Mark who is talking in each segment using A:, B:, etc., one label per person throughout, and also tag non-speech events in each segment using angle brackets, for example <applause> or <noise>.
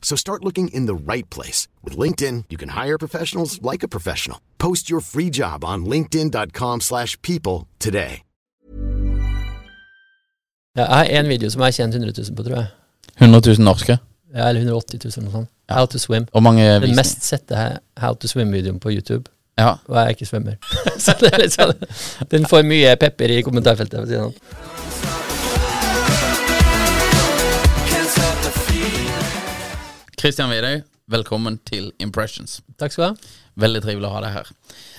A: So start looking in the right place. With LinkedIn, you can hire professionals like a professional. Post your free job on linkedin.com/people slash people today.
B: Jeg har en video som jeg tjent 100 000 på, tror jeg.
C: 100 000 norske.
B: Ja, Eller 180 000 eller noe sånt. How to swim.
C: Og mange
B: Den
C: visninger.
B: mest sette her- How to swim-videoen på YouTube.
C: Ja.
B: Og jeg er ikke svømmer. <laughs> så det er litt sånn, den får mye pepper i kommentarfeltet. for å si det sånn.
C: Christian Vidøy, velkommen til Impressions.
B: Takk skal du ha.
C: Veldig trivelig å ha deg her.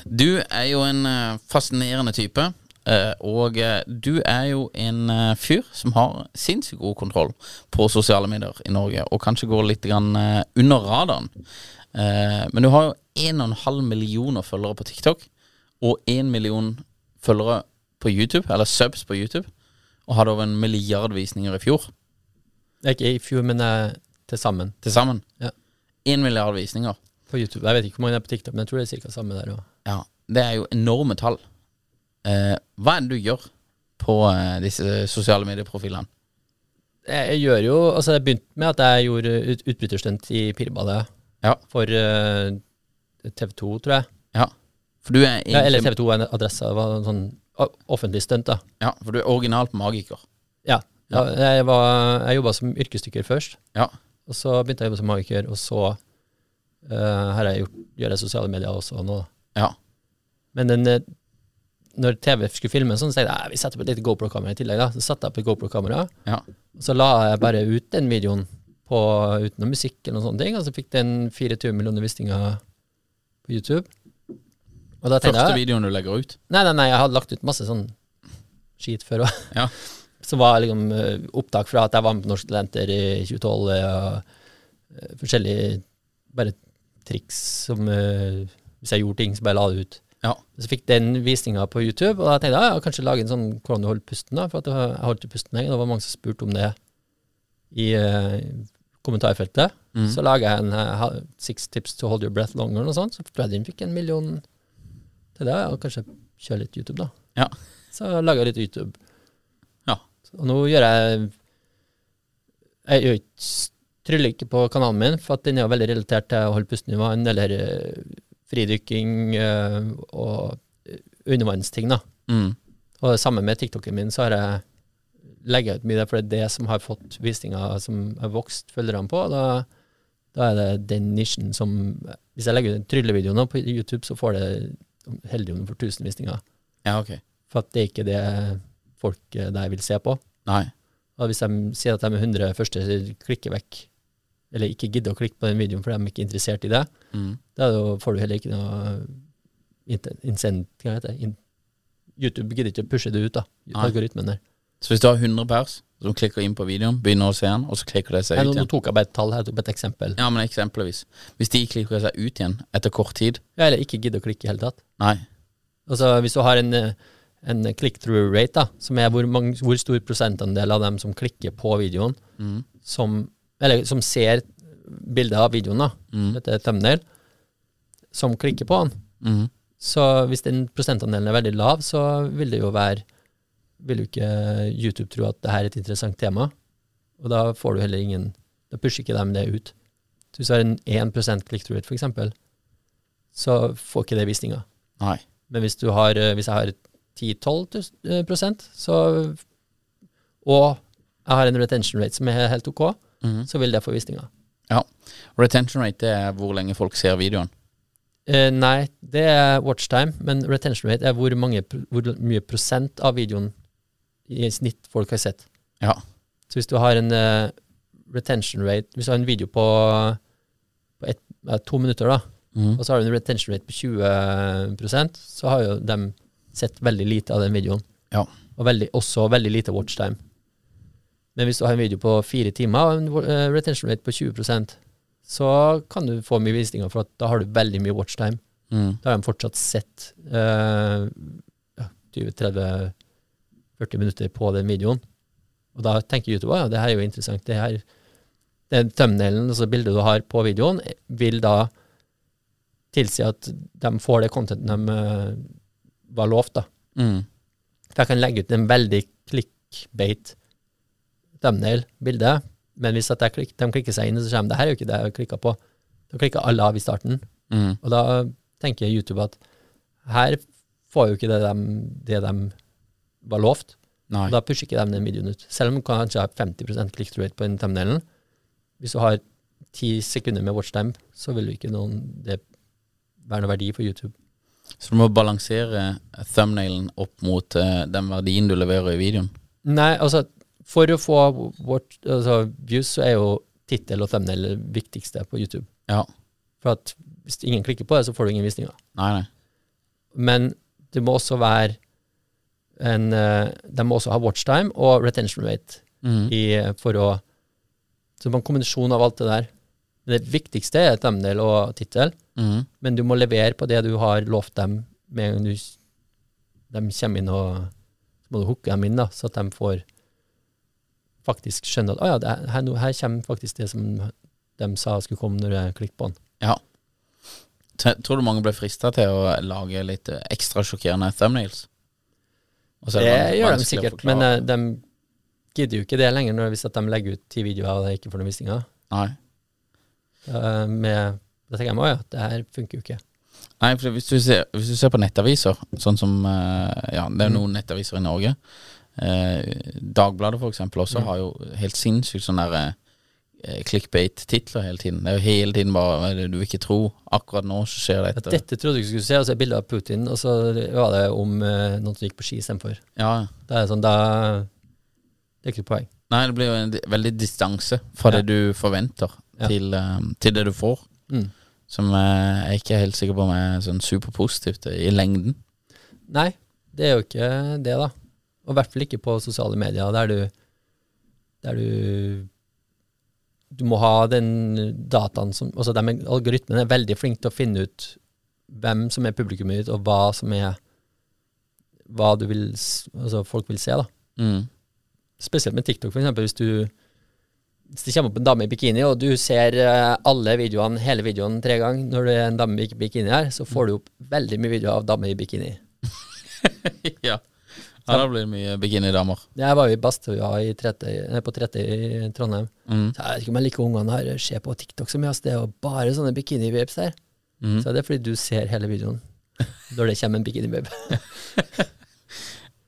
C: Du er jo en eh, fascinerende type, eh, og eh, du er jo en eh, fyr som har sinnssykt god kontroll på sosiale medier i Norge, og kanskje går litt grann, eh, under radaren. Eh, Men du har jo 1,5 millioner følgere på TikTok, og 1 million følgere på YouTube, eller subs på YouTube, og hadde over en milliard visninger i fjor,
B: Det er ikke i fjor, men eh, til sammen
C: til sammen.
B: Ja.
C: 1 milliard visninger.
B: på YouTube. Jeg vet ikke hvor mange det er på TikTok, men jeg tror det er cirka samme der òg.
C: Ja, det er jo enorme tall. Eh, hva er det du gjør på eh, disse sosiale medieprofilene?
B: Jeg, jeg gjør jo Altså, jeg begynte med at jeg gjorde ut, utbryterstunt i Pirballet
C: Ja.
B: for eh, TV2, tror jeg.
C: Ja, for du er, egentlig,
B: Ja, eller TV2 er en adresse. Det var en sånn o- offentlig stunt, da.
C: Ja, for du er originalt magiker.
B: Ja. ja jeg var- jeg jobba som yrkesdykker først,
C: Ja,
B: og så begynte jeg å jobbe som magiker, og så eh, har jeg gjort, gjør jeg sosiale medier også nå, da.
C: ja,
B: Men den, eh, når TV skulle filme sånn, så tenkte jeg "Nei, vi setter på et lite GoPro-kamera i tillegg, da. Så satte jeg på et GoPro-kamera.
C: ja.
B: Og så la jeg bare ut den videoen på, uten noe musikk eller noen sånne ting, og så fikk den 24 millioner visninger på YouTube. Og da tenkte
C: Første
B: jeg
C: videoen du legger ut.
B: Nei, nei, nei, jeg hadde lagt ut masse sånn skit før <laughs> òg.
C: Ja.
B: Som var liksom eh, opptak fra at jeg var med på Norske Talenter i 2012, og eh, forskjellige bare triks som eh, Hvis jeg gjorde ting, så bare la det ut.
C: Ja,
B: Så fikk den visninga på YouTube, og da tenkte jeg ja, ja, kanskje lage en sånn hvordan du holder pusten, da, for at det var- jeg holdt ikke pusten lenge. og Det var mange som spurte om det i eh, kommentarfeltet.
C: Mm.
B: Så laga jeg en eh, ha- six tips to hold your breath longer, og sånt, så tror jeg den fikk en million til det, og kanskje kjøre litt YouTube, da.
C: ja,
B: Så laga jeg litt YouTube.
C: ja.
B: Og nå gjør jeg Jeg gjør ikke s- tryller ikke på kanalen min, for at den er jo veldig relatert til å holde pusten i vann, eller eh, fridykking eh, og eh, undervannsting, da.
C: Mm.
B: Og det samme med TikToken min, så har jeg legger jeg ut mye der, for det er det som har fått visninger som har vokst følgerne på. og Da, da er det den nisjen som Hvis jeg legger ut en tryllevideo nå på YouTube, så får det heldig om du får 1000 visninger.
C: ja ok.
B: For at det er ikke det folk eh, der vil se på.
C: Nei.
B: Og hvis de sier at de er 100 første klikker vekk, eller ikke gidder å klikke på den videoen for de er ikke interessert i det,
C: Mm.
B: da er det jo- får du heller ikke noe inten- incent, hva heter det? In YouTube gidder ikke å pushe det ut, da.
C: Nei.
B: Algoritmen der.
C: Så hvis du har 100 pers som klikker inn på videoen, begynner å se den, og så klikker de seg
B: Nei,
C: ut
B: Nå nå
C: igjen
B: tok jeg bare et tall her, jeg tok bare et eksempel.
C: Ja, men eksempelvis. Hvis de klikker seg ut igjen etter kort tid
B: Ja, eller ikke gidder å klikke i hele tatt.
C: Nei.
B: Altså Hvis du har en, eh, en click-through rate, da, som er hvor, mange, hvor stor prosentandel av dem som klikker på videoen, som, eller som ser bildet av videoen, da, dette er thumbnail, som klikker på den. Så hvis den prosentandelen er veldig lav, så vil det jo være Vil jo ikke YouTube tro at det her er et interessant tema, og da får du heller ingen Da pusher ikke dem det ut. Så hvis du har en 1 click-through rate, f.eks., så får ikke det visninger.
C: Nei.
B: Men hvis, du har, eh, hvis jeg har 10-12 tus- eh, prosent, så, og jeg har en retention rate som er helt ok, så vil det få visninger.
C: Ja. Retention rate det er hvor lenge folk ser videoen.
B: Eh, nei, det er watchtime, men retention rate er hvor, mange, pr- hvor mye prosent av videoen i snitt folk har sett.
C: Ja.
B: Så hvis du har en eh, retention rate Hvis du har en video på, på ett- eh, to minutter, da, og så har du en retention rate på 20 så har jo de sett veldig lite av den videoen.
C: Ja.
B: Og veldig, også veldig lite watchtime. Men hvis du har en video på fire timer og en wa- eh, retention rate på 20 så kan du få mye visninger, for at da har du veldig mye watchtime.
C: Mm.
B: Da har de fortsatt sett eh, ja, 20-30-40 minutter på den videoen. Og da tenker YouTube at ja, det her er jo interessant. Det her, den thumbnailen, altså bildet du har på videoen, eh, vil da tilsi at de får det contenten de eh, var lovt. da.
C: Mm.
B: For jeg kan legge ut en veldig clickbait thumbnail-bilde, men hvis at jeg klik, de klikker seg inn, så kommer det her er jo ikke det jeg klikka på. Da klikker alle av i starten.
C: Mm.
B: Og da tenker YouTube at her får jo ikke det de, det dem var lovt.
C: Nei.
B: Og da pusher ikke de den videoen ut. Selv om du kanskje har 50 click-through rate på den thumbnailen. Hvis du har ti sekunder med watchtime, så vil jo ikke noen det være noe verdi for YouTube.
C: Så du må balansere thumbnailen opp mot eh, den verdien du leverer i videoen.
B: Nei, altså for å få watch, altså, views, så er jo tittel og thumbnail det viktigste på YouTube.
C: Ja.
B: For at hvis ingen klikker på det, så får du ingen visninger.
C: Nei, nei.
B: Men det må også være en eh, De må også ha watchtime og retention rate
C: Mm.
B: i, eh, for å Så man har en kombinasjon av alt det der. Men det viktigste er thumbnail og tittel,
C: Mm.
B: men du må levere på det du har lovt dem med en gang du, s- de kommer inn, og så må du hooke dem inn, da, så at de får faktisk skjønne at å ja, det er- her, nå- her kommer faktisk det som de sa skulle komme når jeg klikket på den.
C: Ja. T tror du mange ble frista til å lage litt eh, ekstra sjokkerende thumbnails? Og så er
B: Det gjør
C: vans-
B: de
C: vanskelig å
B: sikkert,
C: forklare.
B: men eh, de gidder jo ikke det lenger når, hvis at de legger ut ti videoer og det ikke får noen visninger.
C: Nei.
B: Eh, med, da tenker jeg meg, «Å ja, det her funker jo ikke.
C: Nei, for hvis du ser, hvis du ser på nettaviser, sånn som eh, Ja, det er noen nettaviser i Norge. Eh, Dagbladet, for eksempel, også har jo helt sinnssykt sånne der, eh, clickbait-titler hele tiden. Det er jo hele tiden bare "Hva er det Du vil ikke tro. Akkurat nå så skjer
B: At
C: dette.
B: dette trodde du ikke skulle se, og så er bildet av Putin, og så var det om eh, noen som gikk på ski istedenfor.
C: Ja.
B: Da er det sånn, da Det er ikke noe poeng.
C: Nei, det blir jo en di- veldig distanse fra det du forventer,
B: Ja.
C: til, eh, til det du får.
B: Mm.
C: Som eh, jeg ikke er helt sikker på om er sånn superpositivt i lengden.
B: Nei, det er jo ikke det, da. Og i hvert fall ikke på sosiale medier, der du Der du Du må ha den dataen som Altså, de algoritmene er veldig flinke til å finne ut hvem som er publikummet ditt, og hva som er Hva du vil s- Altså, folk vil se, da.
C: Mm.
B: spesielt med TikTok, for eksempel, hvis du hvis det kommer opp en dame i bikini, og du ser eh, alle videoene, hele videoen tre ganger når det er en dame i bikini her, så får du opp veldig mye videoer av damer i bikini.
C: ja. ja, da blir det mye bikinidamer.
B: Jeg var jo i Bastøya i 30, eh, på 30 i Trondheim.
C: Mm.
B: Så jeg vet ikke om jeg liker ungene her, ser på TikTok så mye, ass. Det er jo bare sånne bikini-babes der.
C: Mm.
B: Så det er fordi du ser hele videoen når det kommer en bikini-babe. <laughs>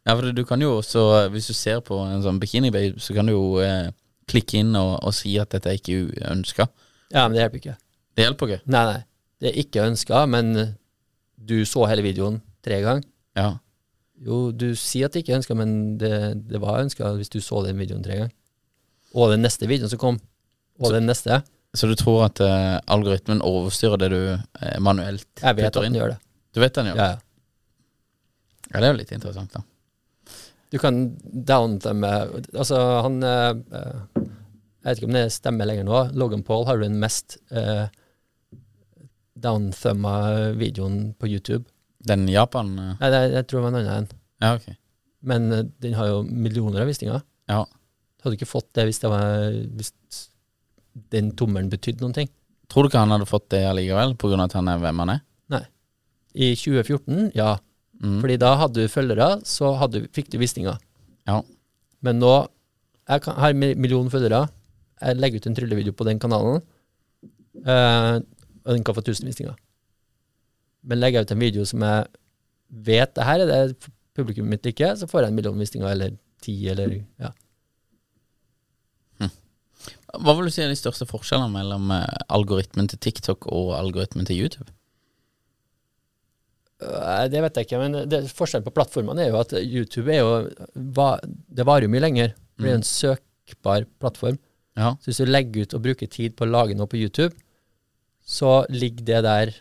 C: Ja, for du kan jo også, hvis du ser på en sånn bikinibabe, så kan du jo eh, klikke inn og, og si at dette er ikke uønska.
B: Ja, men det hjelper ikke.
C: Det hjelper ikke.
B: Nei, nei. Det er ikke ønska, men du så hele videoen tre ganger.
C: Ja.
B: Jo, du sier at det ikke er ønska, men det, det var ønska hvis du så den videoen tre ganger. Og den neste videoen som kom. Og den neste.
C: Så du tror at eh, algoritmen overstyrer det du eh, manuelt
B: Jeg vet at
C: putter
B: den
C: inn?
B: gjør det.
C: Du vet den
B: Ja.
C: gjør det?
B: ja.
C: Ja. det er jo litt interessant, da.
B: Du kan downtime Altså, han eh, eh, Jeg vet ikke om det stemmer lenger nå. Logan Paul har jo den mest eh, downthamma videoen på YouTube.
C: Den Japan eh,
B: Nei, det, jeg tror det var en annen en.
C: Ja, ok.
B: Men eh, den har jo millioner av visninger.
C: Ja.
B: Du hadde ikke fått det hvis, det var, hvis den tommelen betydde noen ting.
C: Tror du ikke han hadde fått det allikevel, pga. at han er hvem han er?
B: I 2014, ja.
C: Mm.
B: Fordi da hadde du følgere, så hadde, fikk du visninger.
C: Ja.
B: Men nå Jeg kan, har en million følgere. Jeg legger ut en tryllevideo på den kanalen, eh, og den kan få 1000 visninger. Men legger jeg ut en video som jeg vet det her er det publikummet mitt liker, så får jeg en million visninger, eller ti, eller ja.
C: Hva vil du si er de største forskjellene mellom eh, algoritmen til TikTok og algoritmen til YouTube?
B: Eh, Det vet jeg ikke, men det, forskjellen på plattformene er jo at YouTube er jo va, Det varer jo mye lenger. for Det er jo en søkbar plattform.
C: Ja.
B: Så hvis du legger ut og bruker tid på å lage noe på YouTube, så ligger det der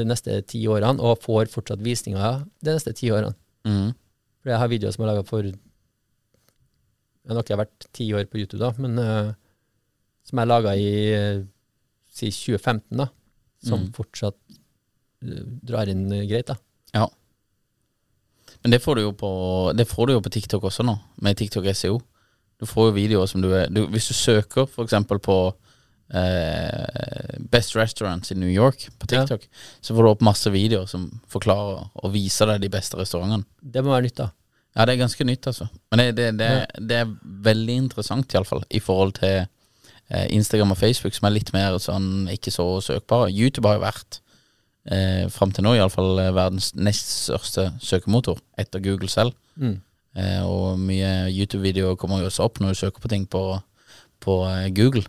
B: de neste ti årene, og får fortsatt visninger de neste ti årene.
C: Mm.
B: For jeg har videoer som er laga for ja, Nok jeg har vært ti år på YouTube, da, men eh, som jeg laga i eh, si 2015, da, som fortsatt eh, drar inn eh, greit. da.
C: ja. Men det får, du jo på, det får du jo på TikTok også nå, med TikTok SEO. Du får jo videoer som du er du, Hvis du søker f.eks. på eh, Best Restaurants i New York på
B: Ja.
C: TikTok, så får du opp masse videoer som forklarer og viser deg de beste restaurantene.
B: Det må være nytt, da.
C: Ja, det er ganske nytt, altså. Men det, det, det, det er veldig interessant, iallfall, i forhold til eh, Instagram og Facebook, som er litt mer sånn ikke så søkbare. YouTube har jo vært, eh, fram til nå iallfall, eh, verdens nest største søkemotor, etter Google selv. Eh, og mye YouTube-videoer kommer jo også opp når du søker på ting på, på eh, Google.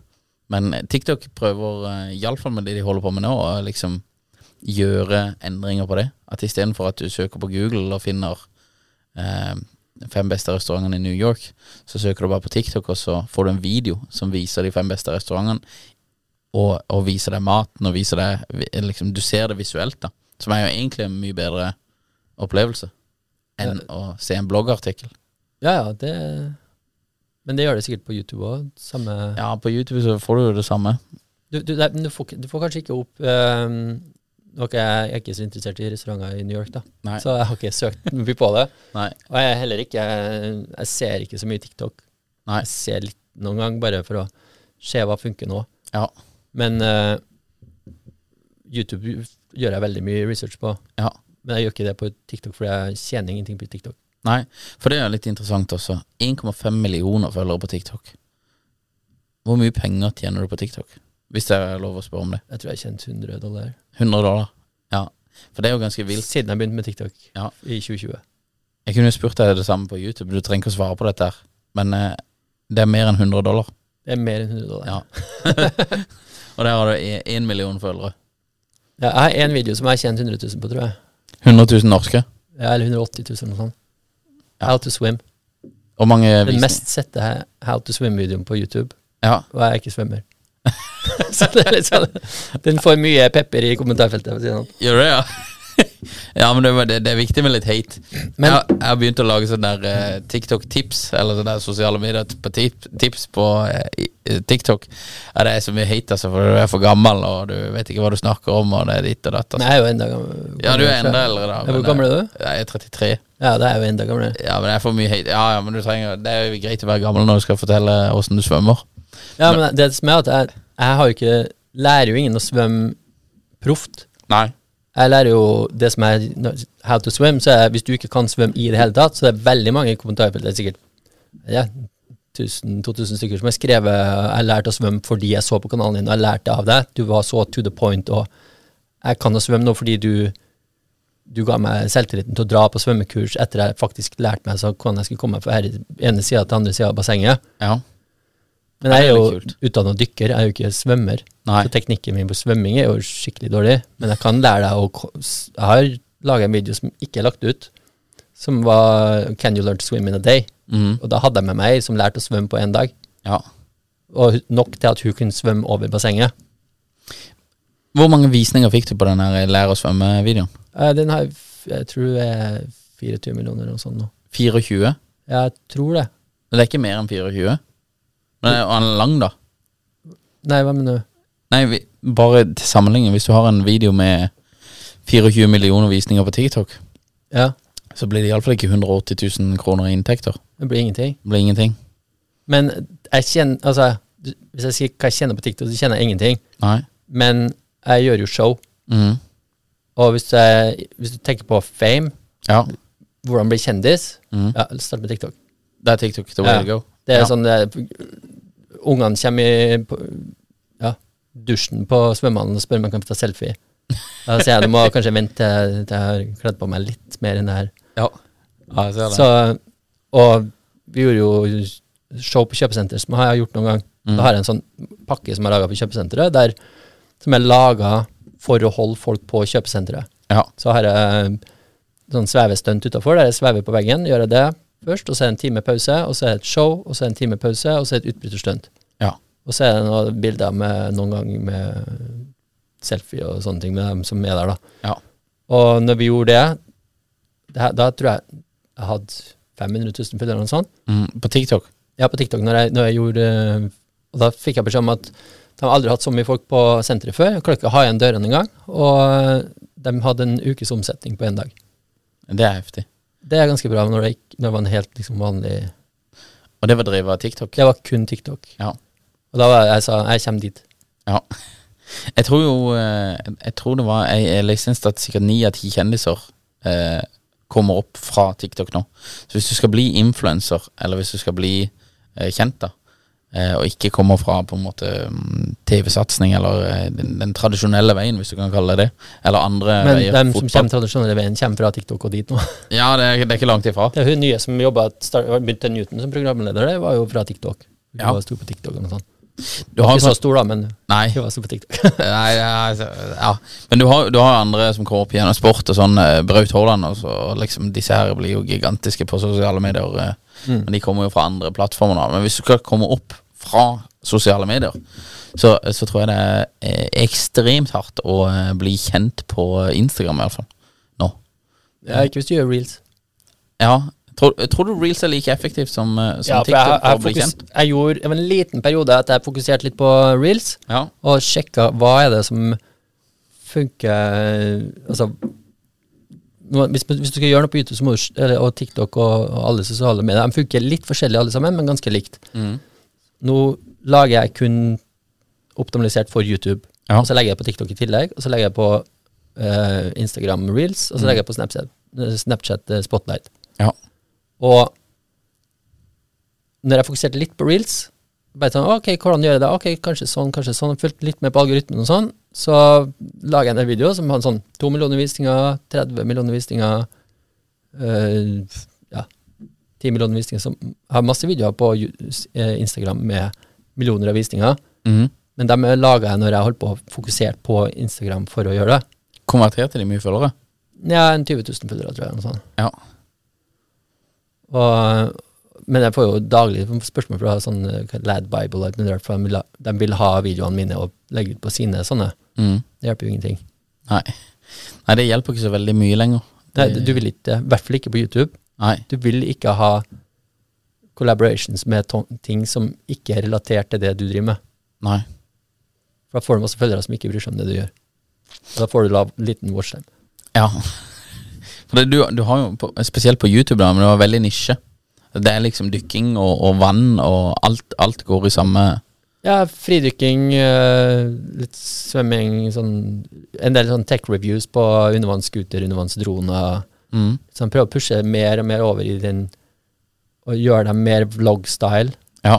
C: Men TikTok prøver, eh, iallfall med det de holder på med nå, å liksom gjøre endringer på det. At istedenfor at du søker på Google og finner eh, fem beste restaurantene i New York, så søker du bare på TikTok, og så får du en video som viser de fem beste restaurantene, og, og viser deg maten, og viser deg vi- liksom, Du ser det visuelt, da. Som er jo egentlig en mye bedre opplevelse enn å se en bloggartikkel.
B: Ja, ja, det Men det gjør det sikkert på YouTube òg. Samme
C: Ja, på YouTube så får du jo det samme.
B: du, du, nei, men du, får, ikke- du får kanskje ikke opp ehm, Nå er ikke jeg jeg er ikke så interessert i restauranter i New York, da.
C: Nei.
B: Så jeg har ikke søkt mye på det.
C: Nei.
B: Og jeg er heller ikke Jeg ser ikke så mye TikTok.
C: Nei.
B: Jeg ser litt noen gang, bare for å se hva funker nå.
C: Ja.
B: Men eh, YouTube gjør jeg veldig mye research på.
C: ja.
B: Men jeg gjør ikke det på TikTok, for jeg tjener ingenting på TikTok.
C: Nei, for det er litt interessant også. 1,5 millioner følgere på TikTok. Hvor mye penger tjener du på TikTok? Hvis det er lov å spørre om det.
B: Jeg tror jeg tjente 100 dollar
C: 100 dollar. Ja. For det er jo ganske vilt.
B: siden jeg begynte med TikTok
C: Ja.
B: i 2020.
C: Jeg kunne jo spurt deg det samme på YouTube, du trenger ikke å svare på dette her. Men eh, det er mer enn 100 dollar.
B: Det er mer enn 100 dollar.
C: Ja. <laughs> Og der har du én million følgere.
B: Ja, jeg har én video som jeg har tjent 100 000 på, tror jeg.
C: 100 000 norske.
B: Ja, Eller 180 000 eller noe sånt. How to swim.
C: Og mange
B: Den
C: visninger.
B: mest sette he- How to swim-videoen på YouTube,
C: Ja.
B: og jeg er ikke svømmer. <laughs> så det er litt sånn Den får mye pepper i kommentarfeltet. for å si det sånn.
C: Gjør det, ja. <laughs> ja, men det, var- det, det er viktig med litt hate.
B: Men-
C: jeg, jeg har begynt å lage sånne der eh, TikTok-tips, eller sånne der sosiale medier på tip, tips på eh, i- eh, TikTok. Ja, det er så mye hate, altså, for du er for gammel, og du vet ikke hva du snakker om, og det er ditt og datt.
B: Men
C: Altså.
B: jeg er jo enda gammel.
C: Ja, du er enda eldre, da.
B: Ja, hvor
C: men,
B: gammel er
C: eh,
B: du?
C: Jeg er 33.
B: Ja, da er jeg jo enda gamlere.
C: Ja, men det er for mye hate. Ja, ja, men du trenger Det er jo greit å være gammel når du skal fortelle åssen du svømmer.
B: Ja, men det som er at jeg, jeg har jo ikke lærer jo ingen å svømme proft.
C: Nei.
B: Jeg lærer jo det som er how to swim, så er, hvis du ikke kan svømme i det hele tatt, så det er veldig mange i kommentarfeltet, det er sikkert ja, 1000-2000 stykker som har skrevet 'Jeg lærte å svømme fordi jeg så på kanalen din, og jeg lærte av deg'. Du var så to the point, og 'jeg kan å svømme nå fordi du du ga meg selvtilliten til å dra på svømmekurs etter jeg faktisk lærte meg så hvordan jeg skulle komme meg fra her- ene sida til andre sida av bassenget.
C: Ja.
B: Men jeg
C: det
B: er
C: er
B: jo
C: litt kult.
B: utdanna dykker, jeg er jo ikke svømmer.
C: Nei.
B: Så teknikken min på svømming er jo skikkelig dårlig. Men jeg kan lære deg å ko- s- Jeg har laga en video som ikke er lagt ut, som var 'Can you learn to swim in a day?'
C: Mhm.
B: Og da hadde jeg med meg ei som lærte å svømme på én dag.
C: ja.
B: Og hun- nok til at hun kunne svømme over bassenget.
C: Hvor mange visninger fikk du på den her lær å svømme-videoen?
B: Eh, Den har f- jeg tror er 24 millioner eller noe sånt nå.
C: 24?
B: Jeg tror det.
C: Det er ikke mer enn 24? Men er han er lang, da?
B: Nei, hva mener du?
C: Nei, vi, bare til sammenligning. Hvis du har en video med 24 millioner visninger på TikTok,
B: Ja,
C: så blir det iallfall ikke 180 000 kroner i inntekter.
B: det blir ingenting.
C: Det blir ingenting.
B: Men jeg kjenner, altså, du- hvis jeg sier hva jeg kjenner på TikTok, så kjenner jeg ingenting.
C: Nei.
B: Men jeg gjør jo show.
C: Mhm.
B: Og hvis, jeg, hvis du tenker på fame,
C: Ja.
B: hvordan bli kjendis,
C: Mhm.
B: ja, start med TikTok.
C: Det er TikTok. The way
B: Ja.
C: to go.
B: Det er
C: Ja.
B: sånn det er, Ungene kommer i på- ja, dusjen på svømmehallen og spør om jeg kan få ta selfie. Da sier jeg du må kanskje vente til til jeg har kledd på meg litt mer enn det her.
C: Ja. ja, jeg ser det.
B: Så, og vi gjorde jo show på kjøpesenter, som jeg har gjort noen gang.
C: Mm.
B: Da har jeg en sånn pakke som jeg laga på kjøpesenteret, der, som jeg laga for å holde folk på kjøpesenteret.
C: Ja.
B: Så har jeg sånn svevestunt utafor, der jeg svever på veggen. Gjør jeg det først, og så er det en time pause, og så er det et show, og så er det en time pause, og så er det et utbryterstunt.
C: Ja.
B: Og så er det noen bilder med noen ganger med selfie og sånne ting med dem som er der, da.
C: Ja.
B: Og når vi gjorde det, det her, da tror jeg jeg hadde 500 000 følgere eller noe sånt.
C: Mm. På TikTok.
B: Ja, på TikTok når jeg, når jeg gjorde eh, Og da fikk jeg beskjed om at de har aldri hatt så mye folk på senteret før. Jeg klarte ikke å ha igjen dørene engang. Og eh, de hadde en ukes omsetning på én dag.
C: Det er heftig.
B: Det er ganske bra når det, ikke, når det var en helt liksom, vanlig
C: Og det var drevet av TikTok.
B: Det var kun TikTok.
C: Ja.
B: Og da var jeg, jeg sa jeg kommer dit.
C: Ja. <laughs> Jeg tror jo eh, Jeg tror det var Jeg, jeg leste en stat- sikkert ni av ti kjendiser eh, kommer opp fra TikTok nå. Så hvis du skal bli influenser, eller hvis du skal bli eh, kjent, da, eh, og ikke kommer fra på en måte mm, TV-satsing eller eh, den, den tradisjonelle veien, hvis du kan kalle det det, eller andre
B: Men
C: veier
B: de som
C: fotball.
B: kommer tradisjonelle veien, kommer fra TikTok og dit nå.
C: Ja, det er, det er ikke langt ifra.
B: <laughs> Det er hun nye som jobba begynte Newton som programleder, det var jo fra TikTok. Hun
C: Ja.
B: var stor på TikTok og noe sånt.
C: Du har
B: Ikke så
C: sånn
B: stor, da, men
C: Nei.
B: hun var stor på TikTok. <laughs>
C: <laughs> Nei, ja, altså, ja. Men du har, du har andre som kommer opp gjennom sport og sånn. eh, Braut Haaland og så og liksom Disse her blir jo gigantiske på sosiale medier. eh,
B: Mm.
C: Men de kommer jo fra andre plattformer. da. Men hvis du skal komme opp fra sosiale medier, så, så tror jeg det er eh, ekstremt hardt å eh, bli kjent på Instagram, i hvert fall. Nå.
B: ja, ikke hvis du gjør reels.
C: Ja. Tror, tror du reels er like effektivt som, eh, som
B: Ja, for
C: TikTok
B: jeg, jeg,
C: for å bli
B: fokus,
C: kjent?
B: jeg gjorde det var en liten periode at jeg fokuserte litt på reels,
C: Ja.
B: og sjekka hva er det som funker Altså nå- hvis, hvis du skal gjøre noe på YouTube så må du, s- eller, og TikTok og, og alle sosiale medier, de funker litt forskjellig alle sammen, men ganske likt.
C: Mm.
B: Nå lager jeg kun optimalisert for YouTube,
C: Ja.
B: og så legger jeg på TikTok i tillegg, og så legger jeg på eh, Instagram Reels, og så legger jeg på Snapchat, Snapchat eh, Spotlight.
C: Mm. ja.
B: Og når jeg fokuserte litt på reels, bare sånn, ok, hvordan gjør jeg det? Ok, kanskje sånn, kanskje sånn. Fulgte litt med på algoritmen og sånn. Så lager jeg en del videoer som hadde sånn 2 millioner visninger, 30 millioner visninger, eh, ja, 10 millioner visninger. Som har masse videoer på ju- s- eh, Instagram med millioner av visninger.
C: Mhm.
B: Men dem laga jeg når jeg holdt på fokusert på Instagram for å gjøre det.
C: Konverterte de mye følgere?
B: Ja, en 20 000 følgere, tror jeg. Noe sånt.
C: Ja.
B: Og, men jeg får jo daglig spørsmål fra sånn eh, Lad Bible og alt mulig rart, for de vil, ha, de vil ha videoene mine og legge ut på sine sånne.
C: Mhm.
B: Det hjelper jo ingenting.
C: Nei. Nei, det hjelper ikke så veldig mye lenger.
B: Nei, du vil ikke, I hvert fall ikke på YouTube.
C: Nei.
B: Du vil ikke ha collaborations med to- ting som ikke er relatert til det du driver med.
C: Nei.
B: For da får du masse følgere som ikke bryr seg om det du gjør. Og da får du lav, liten watchtime.
C: Ja. For det, du, du har jo, på, spesielt på YouTube, da, men det var veldig nisje. Det er liksom dykking og, og vann og alt, alt går i samme
B: Ja, fridykking, eh, litt svømming, sånn, en del sånn tech-reviews på undervannsskuter, undervannsdroner.
C: mm.
B: Så han prøver å pushe mer og mer over i den Og gjøre dem mer vlog-style.
C: Ja.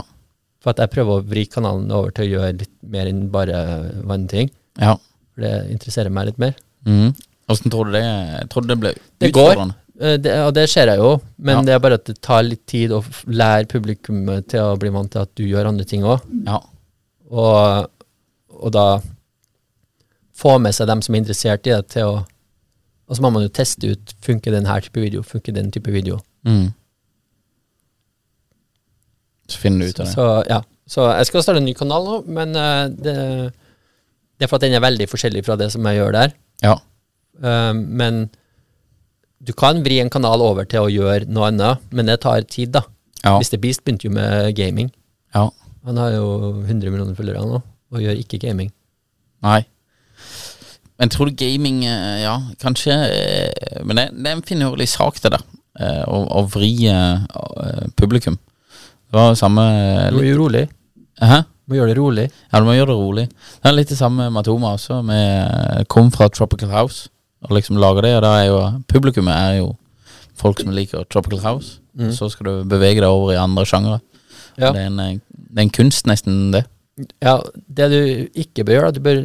B: For at jeg prøver å vri kanalen over til å gjøre litt mer enn bare vannting.
C: ja.
B: For det interesserer meg litt mer.
C: Mm. Åssen tror du det jeg tror det ble
B: Det går.
C: utfordrende?
B: Eh, Det, og det ser jeg jo, men
C: Ja.
B: det er bare at det tar litt tid å f- lære publikummet til å bli vant til at du gjør andre ting òg.
C: Ja.
B: Og, og da få med seg dem som er interessert i det, til å Og så må man jo teste ut funker den her type video, funker den type video.
C: Mm. Så finner du ut av det.
B: Så, ja. så jeg skal starte en ny kanal nå, men eh, det, det er for at den er veldig forskjellig fra det som jeg gjør der.
C: Ja.
B: Eh, men du kan vri en kanal over til å gjøre noe annet, men det tar tid, da.
C: Ja.
B: Mr. Beast begynte jo med gaming.
C: ja.
B: Han har jo 100 millioner følgere nå, og gjør ikke gaming.
C: Nei. Men tror du gaming eh, Ja, kanskje eh, Men det, det er en finurlig sak, det der. eh, Å, å vri eh, eh, publikum. Det var jo samme eh,
B: Du må gjøre det rolig.
C: Hæ?
B: Du må gjøre det rolig.
C: Ja, du må gjøre det rolig. Det er litt det samme med Matoma også. Vi eh, kom fra Tropical House og liksom lager det, og da er jo publikummet er jo folk som liker Tropical House. Så skal du bevege deg over i andre sjangere.
B: Ja.
C: Det, er en, eh, det er en kunst, nesten, det.
B: Ja, det du ikke bør gjøre, da, du bør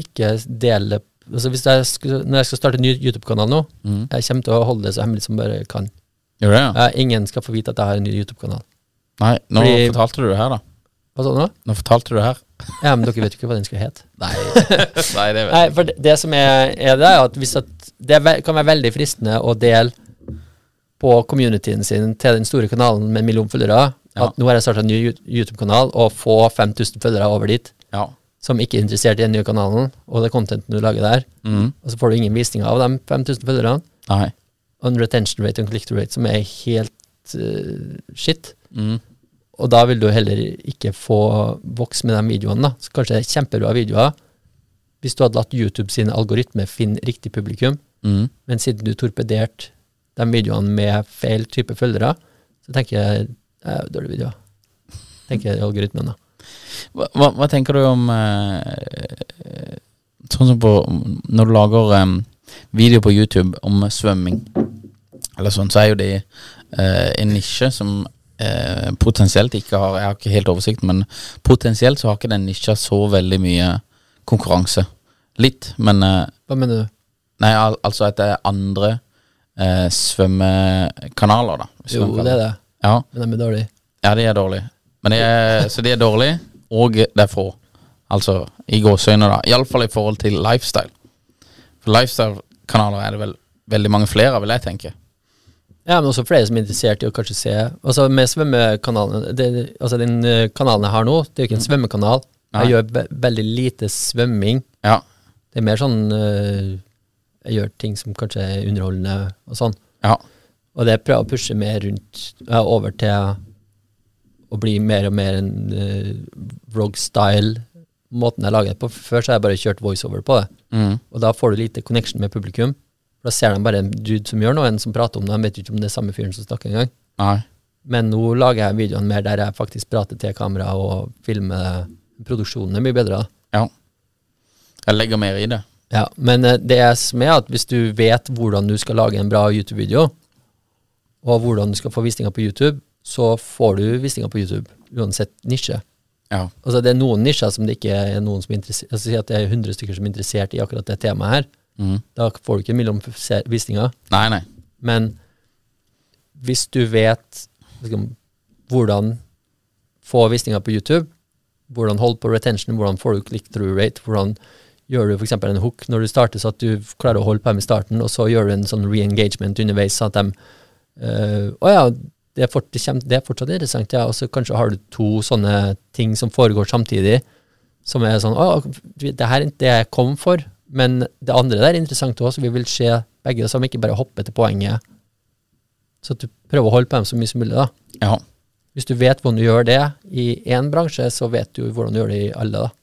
B: ikke dele altså hvis jeg skulle, Når jeg skal starte en ny YouTube-kanal nå, jeg kommer til å holde det så hemmelig som bare kan.
C: Gjør det, ja?
B: Eh, ingen skal få vite at jeg har en ny YouTube-kanal.
C: Nei, nå
B: Fordi-
C: fortalte du det her, da.
B: Hva sa du nå?
C: Nå fortalte du det her.
B: Ja, men dere vet jo ikke hva den skal hete.
C: Nei, Nei det vet
B: Nei, for det, det som er, er det, er at, hvis at det er, ve- kan være veldig fristende å dele på communityen sin til den store kanalen med en million følgere.
C: Ja.
B: At nå har jeg starta en ny Yu- YouTube-kanal, og få 5000 følgere over dit
C: Ja.
B: som ikke er interessert i den nye kanalen og det contenten du lager der. Og så får du ingen visninger av de 5000 følgerne.
C: Mm. Nei.
B: Og en retention rate og en click-through rate som er helt eh, shit. Og da vil du heller ikke få vokse med de videoene. da. Så kanskje det er kjempebra videoer hvis du hadde latt YouTube sin algoritme finne riktig publikum,
C: Mm.
B: men siden du torpederte de videoene med feil type følgere, så tenker jeg eh, dårlige videoer. Tenker jeg algoritmen, da.
C: Hva, hva, hva tenker du om eh, eh, Sånn som på Når du lager eh, video på YouTube om svømming, eller sånn, så er jo det eh, en nisje som eh, potensielt ikke har Jeg har ikke helt oversikt, men potensielt så har ikke den nisja så veldig mye konkurranse. Litt, men eh,
B: Hva mener du?
C: Nei, al altså at det er andre eh, svømmekanaler, da. hvis
B: Jo,
C: man Sånn kan-
B: det er det,
C: Ja.
B: men de er dårlige.
C: Ja, de er dårlige. Men de er, så de er dårlige, og det er få. Altså i gåseøyne, da. Iallfall i forhold til lifestyle. For lifestyle-kanaler er det vel veldig mange flere av, vil jeg tenke.
B: Ja, men også flere som er interessert i å kanskje se Altså med svømmekanalen det, Altså den eh, kanalen jeg har nå, det er jo ikke en svømmekanal.
C: Nei.
B: Jeg gjør ve veldig lite svømming.
C: Ja.
B: Det er mer sånn eh, Jeg gjør ting som kanskje er underholdende og sånn.
C: Ja.
B: Og det prøver jeg å pushe mer rundt ja, over til å bli mer og mer en uh, vlog-style. Måten jeg lager det på. Før så har jeg bare kjørt voiceover på det.
C: Mm.
B: Og da får du lite connection med publikum. Da ser de bare en dude som gjør noe, en som prater om det. De vet jo ikke om det er samme fyren som snakker engang.
C: Nei.
B: Men nå lager jeg videoene mer der jeg faktisk prater til kamera og filmer. Produksjonen er mye bedre. da.
C: Ja. Jeg legger mer i det.
B: Ja, Men eh, det som er at hvis du vet hvordan du skal lage en bra YouTube-video, og hvordan du skal få visninger på YouTube, så får du visninger på YouTube, uansett nisje.
C: Ja.
B: Altså Det er noen nisjer som det ikke er noen som er interessert altså, Si at det er 100 stykker som er interessert i akkurat det temaet her.
C: Mm.
B: Da får du ikke mellom se- visninger.
C: Nei, nei.
B: Men hvis du vet liksom, hvordan få visninger på YouTube, hvordan holde på retention, hvordan får du click-through rate, hvordan gjør du f.eks. en hook når du starter, så at du klarer å holde på dem i starten, og så gjør du en sånn re-engagement underveis, sånn at de eh, Å ja, det er, fort, det, kjem, det er fortsatt interessant, ja. Og så kanskje har du to sånne ting som foregår samtidig, som er sånn Å, det her er ikke det jeg kom for, men det andre der er interessant òg, så vi vil se begge det samme, ikke bare hoppe til poenget. Så at du prøver å holde på dem så mye som mulig, da.
C: Ja.
B: Hvis du vet hvordan du gjør det i én bransje, så vet du hvordan du gjør det i alle, da.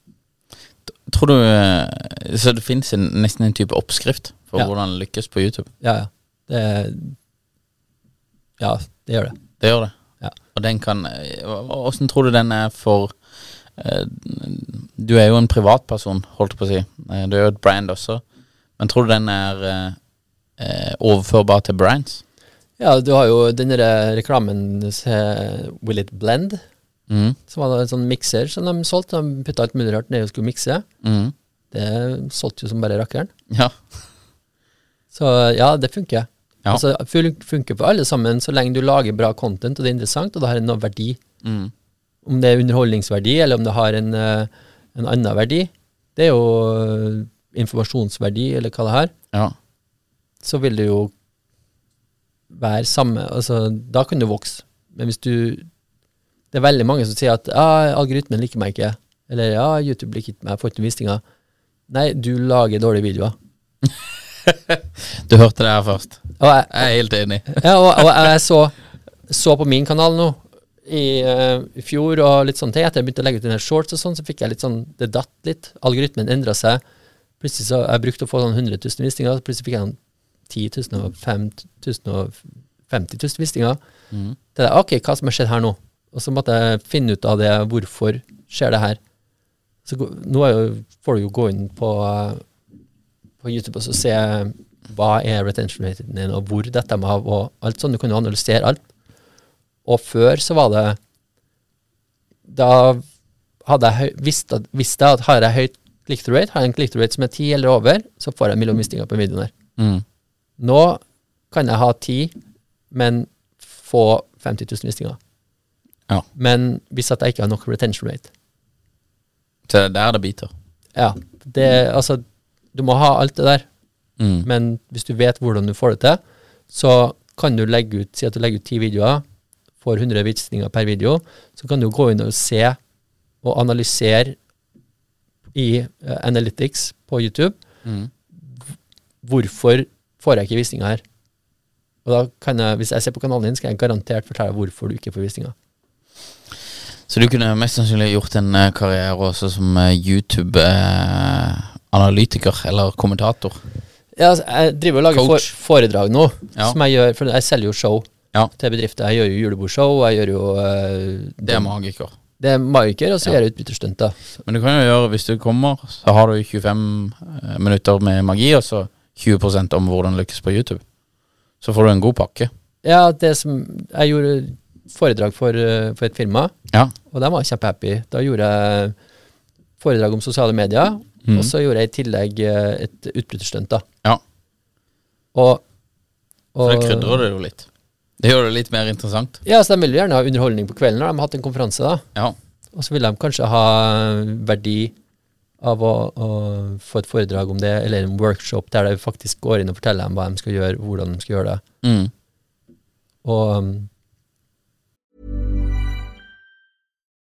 C: Tror du eh, Så det fins en, nesten en type oppskrift for
B: Ja.
C: hvordan lykkes på YouTube?
B: Ja, ja. Det, ja, det gjør det.
C: Det gjør det.
B: Ja.
C: Og den kan eh, Åssen tror du den er for eh, Du er jo en privatperson, holdt jeg på å si. Eh, Du er jo et brand også. Men tror du den er eh, eh, overførbar til brands?
B: Ja, du har jo den der reklamen se, Will It Blend,
C: Mm.
B: som var en sånn mikser som de solgte. De putta alt mulig rart ned og skulle mikse.
C: Mm.
B: Det solgte jo som bare rakkeren.
C: Ja.
B: Så ja, det funker.
C: Ja.
B: Altså, fun- funker for alle sammen, så lenge du lager bra content, og det er interessant, og det har en verdi.
C: Mm.
B: om det er underholdningsverdi, eller om det har en, eh, en annen verdi, det er jo eh, informasjonsverdi, eller hva det har,
C: ja.
B: så vil det jo være samme altså, Da kan du vokse. Men hvis du Det er veldig mange som sier at ah, 'algoritmen liker meg ikke', eller ja, 'YouTube liker ikke meg, jeg får ikke noen visninger'. Nei, du lager dårlige videoer.
C: Du hørte det her først.
B: Og jeg,
C: Jeg er helt enig.
B: Ja, og, og jeg så, så på min kanal nå i, eh, i fjor sånn, og litt sånne ting. Etter jeg begynte å legge ut denne shorts og sånn, så fikk jeg litt sånn Det datt litt. Algoritmen endra seg. Plutselig så Jeg brukte å få sånn 100 000 visninger, så plutselig fikk jeg sånn 10 000 og 5 000 og 50 000 visninger. Det er, ok, hva som har skjedd her nå? Og så måtte jeg finne ut av det, hvorfor skjer det her? Så gå- nå er jo, får du jo gå inn på, eh, på YouTube og så se hva er retention raten din, og hvor detter de av, og alt sånn. Du kan jo analysere alt. Og før så var det Da hadde jeg høy- visst at, visste jeg at har jeg høyt click-through rate, har jeg en click-through rate som er 10 eller over, så får jeg en million visninger på en video der.
C: Mm.
B: Nå kan jeg ha 10, men få 50 000 visninger.
C: Ja.
B: Men hvis at jeg ikke har nok retention rate
C: Så det er der det biter.
B: Ja, det, altså, du må ha alt det der,
C: Mm.
B: men hvis du vet hvordan du får det til, så kan du legge ut, si at du legger ut ti videoer, får 100 visninger per video, så kan du gå inn og se og analysere i eh, Analytics på YouTube
C: Mm.
B: hvorfor får jeg ikke visninger her. Og da kan jeg, Hvis jeg ser på kanalen din, skal jeg garantert fortelle deg hvorfor du ikke får visninger.
C: Så du kunne mest sannsynlig gjort en eh, karriere også som eh, YouTube-analytiker eller kommentator.
B: Ja, altså, jeg driver og lager for,
C: Coach.
B: foredrag nå,
C: Ja.
B: som jeg gjør, for jeg selger jo show
C: Ja.
B: til bedrifter. Jeg gjør jo julebordshow, jeg gjør jo eh,
C: Det er magiker.
B: det er Maiker, og så
C: Ja.
B: gjør jeg utbytterstunt. da.
C: Men du kan jo gjøre, hvis du kommer, så har du 25 eh, minutter med magi, og så 20 om hvordan lykkes på YouTube. Så får du en god pakke.
B: Ja, det som, jeg gjorde foredrag for, eh, for et firma,
C: Ja.
B: og de var kjempehappy. Da gjorde jeg foredrag om sosiale medier,
C: Mhm.
B: og så gjorde jeg i tillegg eh, et utbryterstunt. da.
C: Ja.
B: Og,
C: Så
B: og,
C: det krydrer det jo litt. Det gjør det litt mer interessant.
B: Ja, så de vil jo gjerne ha underholdning på kvelden når de har hatt en konferanse. da.
C: Ja.
B: Og så vil de kanskje ha verdi av å, å få et foredrag om det, eller en workshop der de faktisk går inn og forteller dem hva de skal gjøre, hvordan de skal gjøre det.
C: Mm.
B: Og um,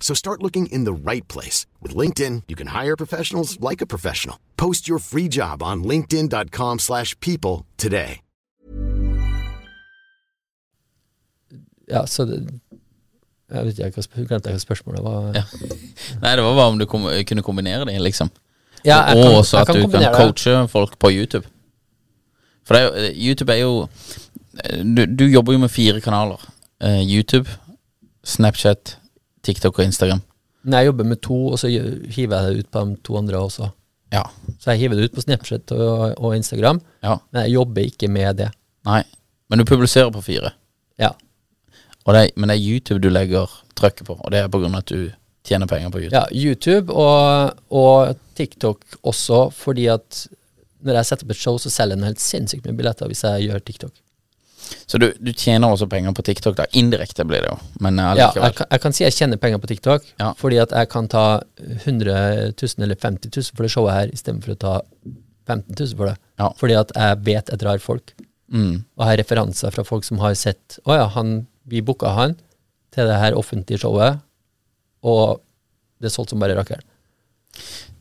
A: So start looking in the right place. With LinkedIn, you can hire professionals like a professional. Post your free job on linkedin.com/people slash people today.
B: ja, så det, Jeg vet ikke, hva sp- glemte jeg hva spørsmålet var.
C: Ja. <laughs> Nei, det var bare om du kom, kunne kombinere det, liksom.
B: Ja, jeg
C: og
B: kan-
C: også
B: jeg
C: at du kan
B: kombinere det.
C: coache folk på YouTube. For det er jo, YouTube er jo du, du jobber jo med fire kanaler. Eh, YouTube, Snapchat, TikTok og Instagram.
B: Nei, jeg jobber med to, og så gjø- hiver jeg det ut på de to andre også.
C: Ja.
B: Så jeg hiver det ut på Snapchat og, og Instagram,
C: ja.
B: men jeg jobber ikke med det.
C: Nei. Men du publiserer på fire.
B: Ja,
C: Og det er, men det er YouTube du legger trøkket på, og det er på grunn av at du tjener penger på YouTube.
B: ja YouTube og, og TikTok også, fordi at når jeg setter opp et show, så selger jeg den helt sinnssykt mye billetter hvis jeg gjør TikTok.
C: Så du, du tjener også penger på TikTok, da. Indirekte blir det jo, men eh,
B: Ja, jeg,
C: allikevel.
B: kan- jeg kan si jeg tjener penger på TikTok,
C: Ja.
B: fordi at jeg kan ta 100 000 eller 50 000 for det showet her, istedenfor å ta 15 000 for det.
C: Ja.
B: Fordi at jeg vet jeg drar folk,
C: Mm.
B: og har referanser fra folk som har sett Å ja, han, vi booka han til det her offentlige showet, og det er solgt som bare rakkeren.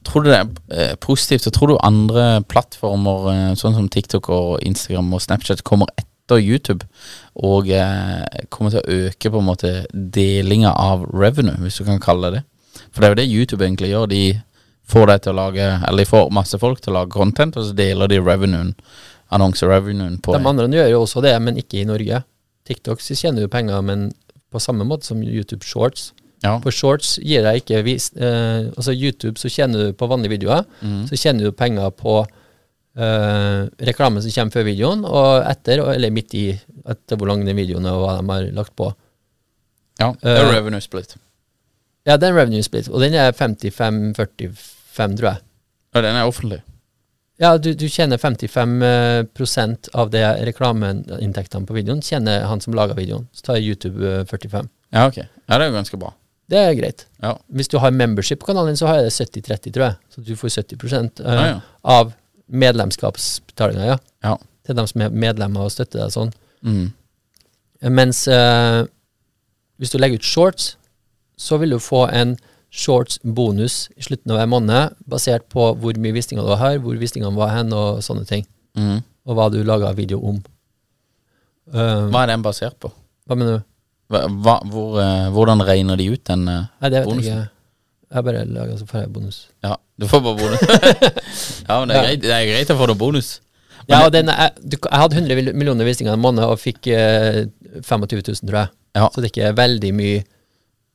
C: Tror du det er eh, positivt, og tror du andre plattformer, eh, sånn som TikTok og Instagram og Snapchat, kommer etter YouTube og eh, kommer til å øke på en måte delinga av revenue, hvis du kan kalle det det? For det er jo det YouTube egentlig gjør. De får deg til å lage, eller de får masse folk til å lage content, og så deler de revenuen, annonse-revenuen på
B: De
C: det.
B: andre gjør jo også det, men ikke i Norge. TikTok så tjener du penger, men på samme måte som YouTube Shorts.
C: Ja.
B: På shorts gir jeg ikke vis, eh, Altså YouTube så tjener du på vanlige videoer. Så tjener du penger på eh, reklamen som kommer før videoen, og etter, og- eller midt i, etter hvor lang den videoen er og hva de har lagt på.
C: Ja, det er
B: Eh,
C: revenue split.
B: Ja, det er en revenue split, og den er 55-45, tror jeg.
C: Og den er offentlig.
B: Ja, du, du tjener 55 eh, prosent av det reklameinntektene på videoen, tjener han som lager videoen. Så tar YouTube eh, 45.
C: Ja, ok. Ja, det er jo ganske bra.
B: Det er greit.
C: Ja.
B: Hvis du har membership på kanalen, så har jeg det 70-30, tror jeg. Så du får 70 prosent eh,
C: Ja, ja.
B: av medlemskapsbetalinga, ja.
C: Ja.
B: Til dem som er medlemmer og støtter deg sånn.
C: Mm.
B: Mens eh, hvis du legger ut shorts, så vil du få en shorts-bonus i slutten av hver måned, basert på hvor mye visninger du har, hvor visningene var hen, og sånne ting.
C: Mm.
B: Og hva du laga video om. Eh,
C: Hva er den basert på?
B: hva mener du?
C: Hva, hva- hvor, eh, hvordan regner de ut den eh,
B: Nei, det vet jeg
C: bonusen?
B: ikke. Jeg bare lager så får jeg bonus.
C: Ja, du får bare
B: <laughs>
C: bonus. ja, men det er,
B: Ja.
C: greit, det er greit å få det bonus. Men
B: Ja, og den, jeg, du, jeg hadde 100 vil- millioner visninger en måned og fikk eh, 25 000, tror jeg.
C: Ja.
B: Så det er ikke veldig mye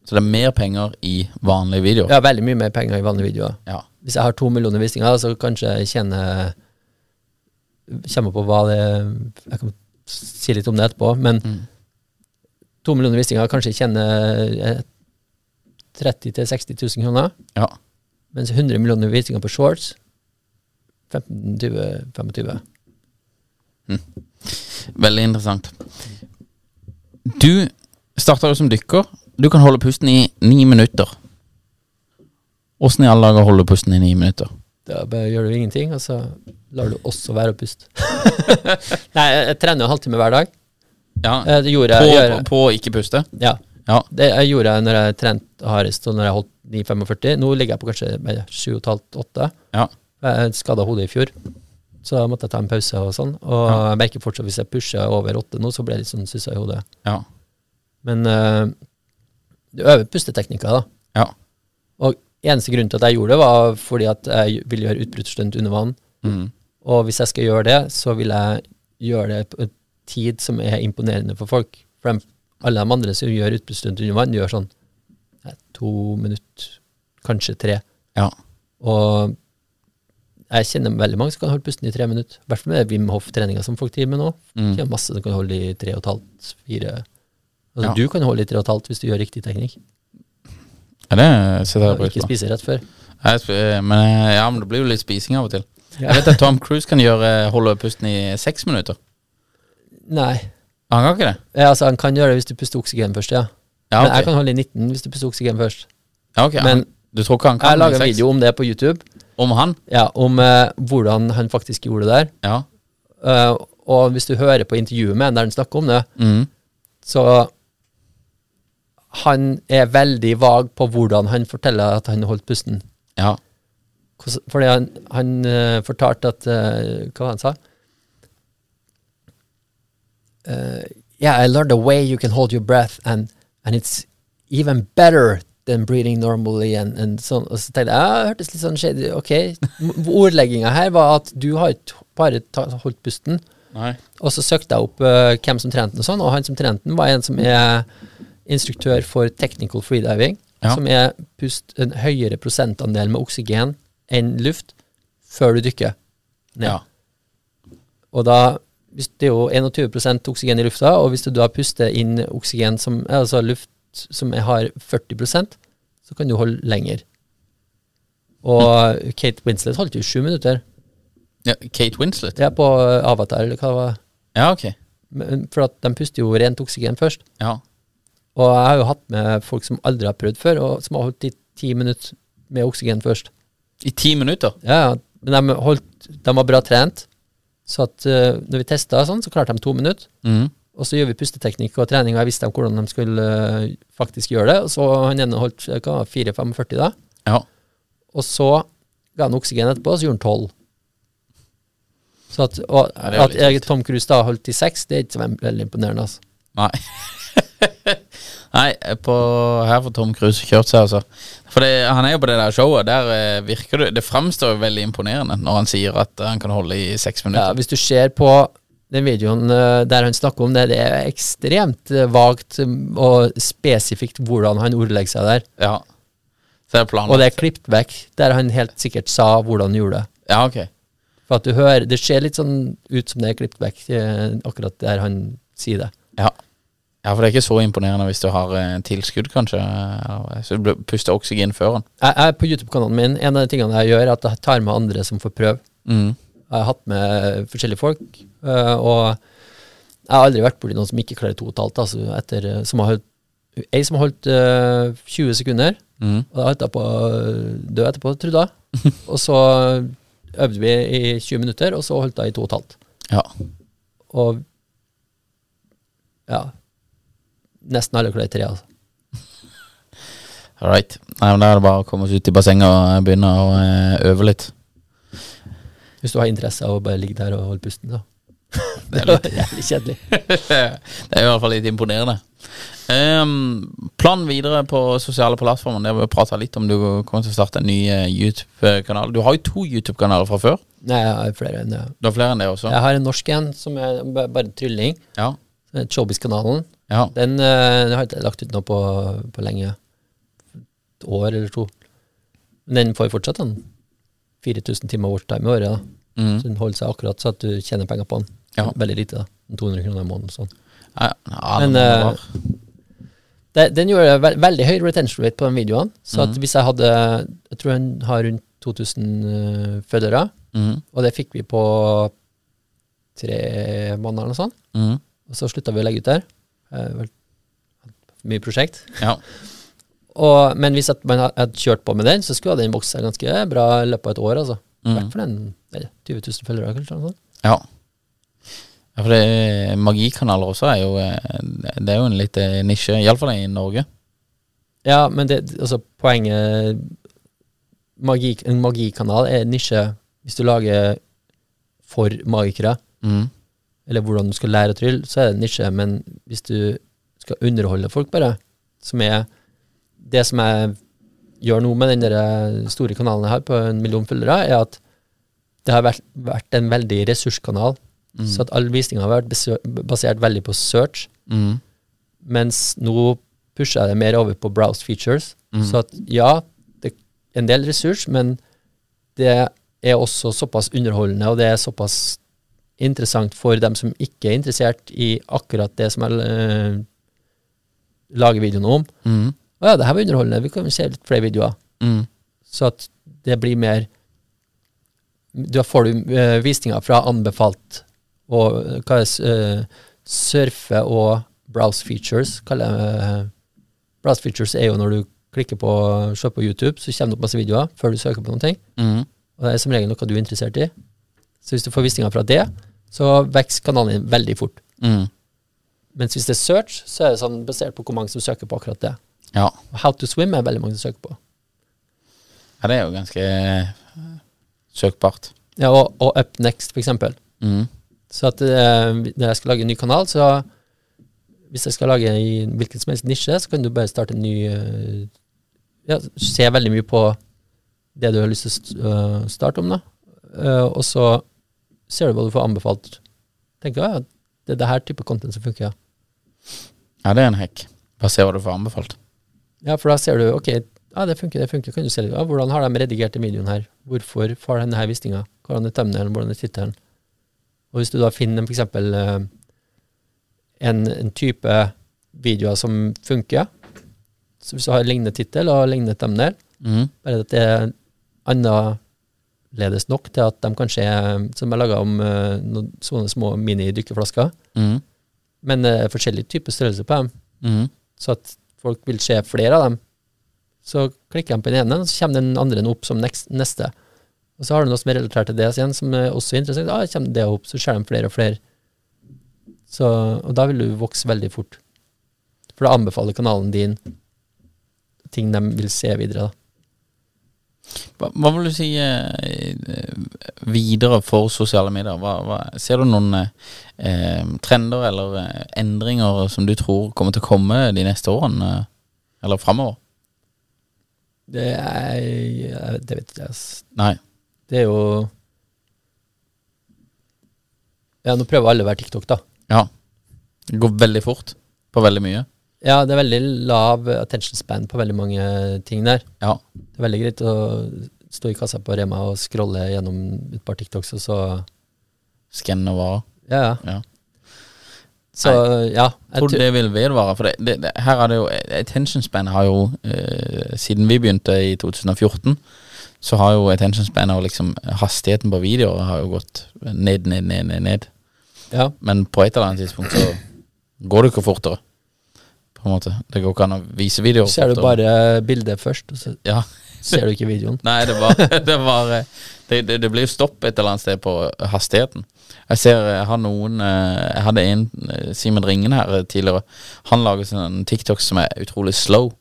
C: Så det er mer penger i vanlige videoer.
B: Ja, veldig mye mer penger i vanlige videoer.
C: Ja.
B: Hvis jeg har to millioner visninger, så kanskje jeg tjener Kommer på hva det Jeg kan si litt om det etterpå, men
C: Mm.
B: to millioner visninger kanskje jeg tjener eh, 30 000-60 000 kroner.
C: Ja.
B: Mens 100 millioner visninger på shorts 15-20-25.
C: Veldig interessant. Du starta jo som dykker. Du kan holde pusten i ni minutter. Åssen i alle dager holder du pusten i ni minutter?
B: Da bare gjør du ingenting, og så lar du også være å puste. <laughs> Nei, jeg, jeg trener jo en halvtime hver dag.
C: Ja,
B: Eh, Det gjorde
C: På,
B: jeg,
C: på,
B: gjør,
C: på å ikke puste?
B: ja,
C: Ja.
B: det jeg gjorde jeg når jeg trente hardest, og når jeg holdt 9,45. Nå ligger jeg på kanskje 7,5-8.
C: Ja.
B: Jeg skada hodet i fjor, så da måtte jeg ta en pause og sånn. Og
C: Ja.
B: jeg merker fortsatt hvis jeg pusher over 8 nå, så blir jeg litt sånn sussa i hodet.
C: Ja.
B: Men eh, du øver pusteteknikker, da.
C: Ja.
B: Og eneste grunnen til at jeg gjorde det, var fordi at jeg ville gjøre utbruddsstunt under vann.
C: Mm.
B: Og hvis jeg skal gjøre det, så vil jeg gjøre det på en tid som er imponerende for folk. For dem, alle de andre som gjør utbruddsstunt under vann, gjør sånn eh, to minutter, kanskje tre.
C: Ja.
B: Og jeg kjenner veldig mange som kan holde pusten i tre minutter. I hvert fall med det Wim Hof-treninga som folk driver med nå.
C: Mm.
B: Det er masse som kan holde i tre og et halvt, fire altså,
C: Ja.
B: Du kan holde i tre og et halvt hvis du gjør riktig teknikk.
C: ja det setter jeg
B: Og
C: pris
B: ikke
C: på.
B: spise rett før.
C: Jeg sp- Men, eh, ja, men det blir jo litt spising av og til.
B: Ja.
C: Jeg vet at Tom Cruise kan gjøre eh, holde pusten i seks minutter.
B: Nei.
C: Han kan ikke det?
B: Ja, altså, han kan gjøre det hvis du puster oksygen først, ja.
C: Ja,
B: Men jeg
C: ok.
B: kan holde i 19 hvis du puster oksygen først.
C: Ja, ok,
B: men-
C: han, du tror ikke han kan
B: Jeg lager en
C: seks?
B: video om det på YouTube,
C: om han?
B: ja, om eh, hvordan han faktisk gjorde det der.
C: Ja.
B: Eh, og hvis du hører på intervjuet med han der han snakker om det,
C: Mm.
B: så Han er veldig vag på hvordan han forteller at han holdt pusten.
C: ja.
B: Hvordan- Fordi han, han eh, fortalte at eh, Hva var det han sa? Eh, yeah, I learned a way you can hold your breath, and, and it's even better than breathing normally. And, and sånn. Og så tenkte jeg ja, det hørtes litt sånn shady Ok, ordlegginga her var at du har ikke bare ta, holdt pusten.
C: Nei.
B: Og så søkte jeg opp eh, hvem som trente den, og sånn, og han som trente den, var en som er instruktør for technical freediving,
C: Ja.
B: som er pust en høyere prosentandel med oksygen enn luft før du dykker. ned.
C: Ja.
B: Og da hvis Det er jo 21 oksygen i lufta, og hvis du da puster inn oksygen som, altså luft som er- har 40 så kan du holde lenger. Og Kate Winslet holdt jo sju minutter.
C: ja. Kate Winslet?
B: Det er på Avatar, eller hva det var.
C: Ja, ok.
B: Men- For at de puster jo rent oksygen først.
C: Ja.
B: Og jeg har jo hatt med folk som aldri har prøvd før, og som har holdt i ti minutter med oksygen først.
C: I ti minutter?
B: Ja, ja. Men de, holdt, de var bra trent, så at eh, når vi testa sånn, så klarte de to minutter.
C: Mm.
B: Og så gjør vi pusteteknikk og trening, og jeg visste dem hvordan de skulle eh, faktisk gjøre det. Og så han ene holdt eh, hva, 4-45 da,
C: Ja.
B: og så ga han oksygen etterpå, og så gjorde han 12. Så at, og,
C: Ja, det er jo
B: at
C: litt
B: jeg, Tom Cruise da holdt i 6, det er ikke så veldig- veldig imponerende. altså.
C: Nei. <laughs> Nei, eh, på, her får Tom Cruise kjørt seg, altså. For det, han er jo på det der showet. Der eh, virker det Det framstår jo veldig imponerende når han sier at han kan holde i seks
B: Ja,
C: minutter.
B: hvis du ser på den videoen eh, der han snakker om det, det er ekstremt eh, vagt mm, og spesifikt hvordan han ordlegger seg der.
C: Ja. Så det er
B: Og
C: planlagt.
B: det er klippet vekk, der han helt sikkert sa hvordan han gjorde det.
C: Ja, ok.
B: For at du hører, Det ser litt sånn ut som det er klippet vekk, eh, akkurat der han sier det.
C: Ja. Ja, for det er ikke så imponerende hvis du har eh, tilskudd, kanskje. eller- Så du blir- puster oksygen før den.
B: Jeg, jeg er på YouTube-kanalen min. En av de tingene jeg gjør, er at jeg tar med andre som får prøve.
C: Mm.
B: Jeg har hatt med forskjellige folk, øh, og jeg har aldri vært borti noen som ikke klarer to og et halvt. Altså etter, øh, som har holdt, ei som har holdt øh, 20 sekunder,
C: Mm.
B: og da holdt jeg på å dø etterpå, trodde
C: <laughs>
B: jeg. Og så øvde vi i 20 minutter, og så holdt jeg i to og et halvt.
C: Ja.
B: Og ja Nesten alle klarer tre, altså.
C: All right. Nei, men Da er det bare å komme seg ut i bassenget og begynne å eh, øve litt.
B: Hvis du har interesse av å bare ligge der og holde pusten, da.
C: <laughs> Det
B: <laughs> Det
C: er litt
B: var jævlig
C: <laughs>
B: kjedelig.
C: <laughs> det er i hvert fall litt imponerende. Ehm, planen videre på sosiale plattformer Det har vi prata litt om. Du kommer til å starte en ny eh, YouTube-kanal. Du har jo to YouTube-kanaler fra før.
B: Nei, jeg har flere enn det.
C: Du har flere enn det også?
B: Jeg har en norsk en som er ba- bare trylling.
C: Ja.
B: som heter Showbiz-kanalen.
C: ja.
B: Den eh, den har jeg ikke lagt ut nå på, på lenge. Et år eller to. Men den får fortsatt den. 4000 timer watchtime i året. da.
C: Mm.
B: Så den holder seg akkurat så at du tjener penger på den.
C: Ja.
B: Veldig lite, da. 200 kroner i måneden. sånn.
C: Ja, ja,
B: Men,
C: det må det
B: eh, Det, den gjorde ve veldig høy retention rate på de videoene. Så
C: Mm.
B: at hvis jeg hadde Jeg tror den har rundt 2000 følgere,
C: være. mm.
B: og det fikk vi på tre måneder eller noe sånt.
C: Mm.
B: Og så slutta vi å legge ut der. Eh, vel, mye prosjekt.
C: Ja.
B: Og, men hvis at man ha- hadde kjørt på med den, så skulle den vokst seg ganske bra i løpet av et år. altså. I
C: Mm.
B: hvert fall en eh, 20 000 følgere, kanskje. eller noe sånt.
C: Ja. ja for det, magikanaler også er jo eh, Det er jo en litt eh, nisje, iallfall i Norge.
B: Ja, men det, altså, poenget magi, En magikanal er en nisje hvis du lager for magikere,
C: Mm.
B: eller hvordan du skal lære å trylle, så er det en nisje. Men hvis du skal underholde folk, bare, som er det som jeg gjør nå med den der eh, store kanalen jeg har på en million følgere, er at det har vært, vært en veldig ressurskanal. Så at all visninga har vært besø- basert veldig på search,
C: Mm.
B: mens nå pusher jeg det mer over på browse features. Så at ja, det er en del ressurs, men det er også såpass underholdende, og det er såpass interessant for dem som ikke er interessert i akkurat det som jeg eh, lager videoen om.
C: Mm.
B: Å ja, det her var underholdende, vi kan jo se litt flere videoer.
C: Mm.
B: Så at det blir mer Da får du eh, visninger fra anbefalt og eh, hva er s- eh, surfe og browse features, kaller jeg eh, Browse features er jo når du klikker på se på YouTube, så kommer det opp masse videoer før du søker på noen ting.
C: Mm.
B: Og det er som regel noe du er interessert i. Så hvis du får visninger fra det, så vokser kanalen din veldig fort.
C: Mm.
B: Mens hvis det er search, så er det sånn basert på hvor mange som søker på akkurat det.
C: Ja.
B: Og How to swim er veldig mange som søker på.
C: ja. Det er jo ganske eh, søkbart.
B: Ja, og, og Up Next, for eksempel.
C: Mm.
B: Så at eh, når jeg skal lage en ny kanal, så hvis jeg skal lage i hvilken som helst nisje, så kan du bare starte en ny eh, ja, Se veldig mye på det du har lyst til å st- øh, starte om, da. Eh, og så ser du hva du får anbefalt. Tenker jeg, ja, det er det her type content som funker. Ja.
C: Ja, det er en hekk. Bare se hva du får anbefalt.
B: ja, for da ser du ok, ja, det funker, det funker. Kan du se litt, ja, hvordan har de redigert den videoen her? Hvorfor får denne her visninga? Hvordan er thumbnailen? Hvordan er tittelen? Og hvis du da finner f.eks. en, eh, en type videoer som funker, så hvis du har lignende tittel og lignende thumbnail,
C: Mm.
B: bare at det er annerledes nok til at de kanskje er, som er laga om eh, noen sånne små mini-dykkeflasker,
C: Mm.
B: men eh, forskjellig type størrelse på dem,
C: Mm.
B: så at folk vil se flere av dem. Så klikker de på den ene, og så kommer den andre opp som neks- neste. Og så har du noe som er relatert til det igjen, som er også er interessant. Ah, kommer det opp, så ser de flere og flere. Så, og da vil du vokse veldig fort. For da anbefaler kanalen din ting de vil se videre. Da.
C: Hva, hva vil du si eh, eh, videre for sosiale medier? Hva, hva, ser du noen eh, eh, trender eller eh, endringer som du tror kommer til å komme de neste årene? eh, Eller framover?
B: Det, er, jeg- det vet jeg ikke.
C: Nei.
B: Det er jo Ja, nå prøver alle å være TikTok, da.
C: Ja. Det går veldig fort på veldig mye.
B: Ja, det er veldig lav attention span på veldig mange ting der.
C: Ja.
B: Det er veldig greit å stå i kassa på Rema og scrolle gjennom et par TikToks, og så
C: Skann og varer.
B: Ja, ja.
C: Ja.
B: Så ja. jeg
C: Tror du
B: tror-
C: det vil vedvare? For det, det, det, her er det jo Attention span har jo eh, Siden vi begynte i 2014, så har jo attention span og liksom hastigheten på videoer har jo gått ned, ned, ned, ned. ned.
B: ja.
C: Men på et eller annet tidspunkt så går det ikke fortere. På en måte. Det går ikke an å vise videoer
B: Ser du
C: fortere.
B: bare bildet først, og så <laughs>
C: Ja.
B: ser du ikke videoen.
C: Nei, det var, <laughs> det, var eh, det, det, det blir jo stopp et eller annet sted på eh, hastigheten. Jeg ser eh, jeg har noen eh, Jeg hadde en eh, Simen Ringen her eh, tidligere. Han lager sånn TikTok som er utrolig slow.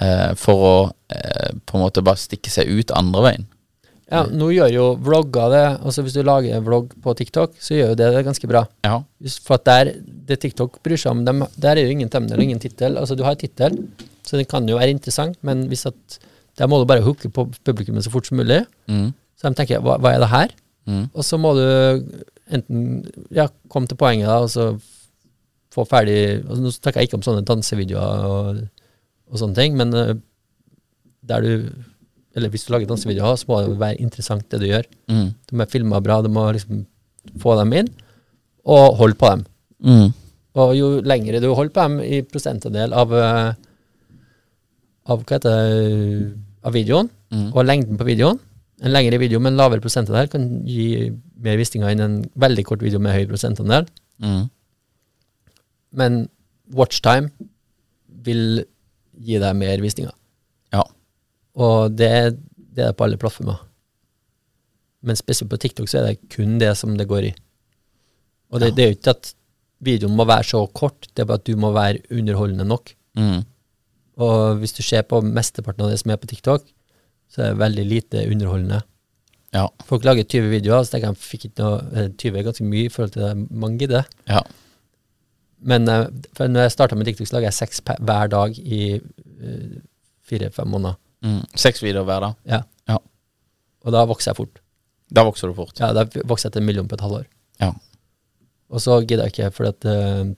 C: eh, for å eh, på en måte bare stikke seg ut andre veien.
B: Ja, nå gjør jo vlogger det. Altså Hvis du lager en vlogg på TikTok, så gjør jo det det ganske bra.
C: Ja.
B: Hvis- For at der, det TikTok bryr seg om, dem, der er jo ingen temner og ingen tittel. Altså, du har tittel, så den kan jo være interessant, men hvis at der må du bare hooke på publikummet så fort som mulig.
C: Mm.
B: Så de tenker hva, 'hva er det her?'
C: Mm.
B: Og så må du enten ja, komme til poenget, da, og så få ferdig altså, Nå snakker jeg ikke om sånne dansevideoer og, og sånne ting, men eh, der du Eller hvis du lager dansevideoer, så må det jo være interessant, det du gjør.
C: Mm.
B: De er filma bra, du må liksom få dem inn, og holde på dem.
C: Mm.
B: Og jo lengre du holder på dem i prosentandel av, eh, av hva heter det, eh, av videoen,
C: Mm.
B: og lengden på videoen En lengre video med en lavere prosentandel kan gi mer visninger enn en veldig kort video med høy prosentandel.
C: Mm.
B: Men watchtime vil gi deg mer visninger.
C: Ja.
B: Og det, det er det på alle plattformer. Men spesielt på TikTok så er det kun det som det går i. Og det, det er jo ikke at videoen må være så kort, det er bare at du må være underholdende nok.
C: Mm.
B: Og hvis du ser på mesteparten av det som er på TikTok, så er det veldig lite underholdende.
C: Ja.
B: Folk lager 20 videoer, så tenker jeg fikk ikke noe, eh, 20 er ganske mye i forhold til det mange gidder.
C: Ja.
B: Men eh, for når jeg starta med TikTok, så lager jeg seks pe- hver dag i eh, fire-fem måneder.
C: Mm. Seks videoer hver dag.
B: Ja.
C: Ja.
B: Og da vokser jeg fort.
C: Da vokser du fort.
B: Ja, Da vokser jeg til en million på et halvår.
C: Ja.
B: Og så gidder jeg ikke, for at, eh,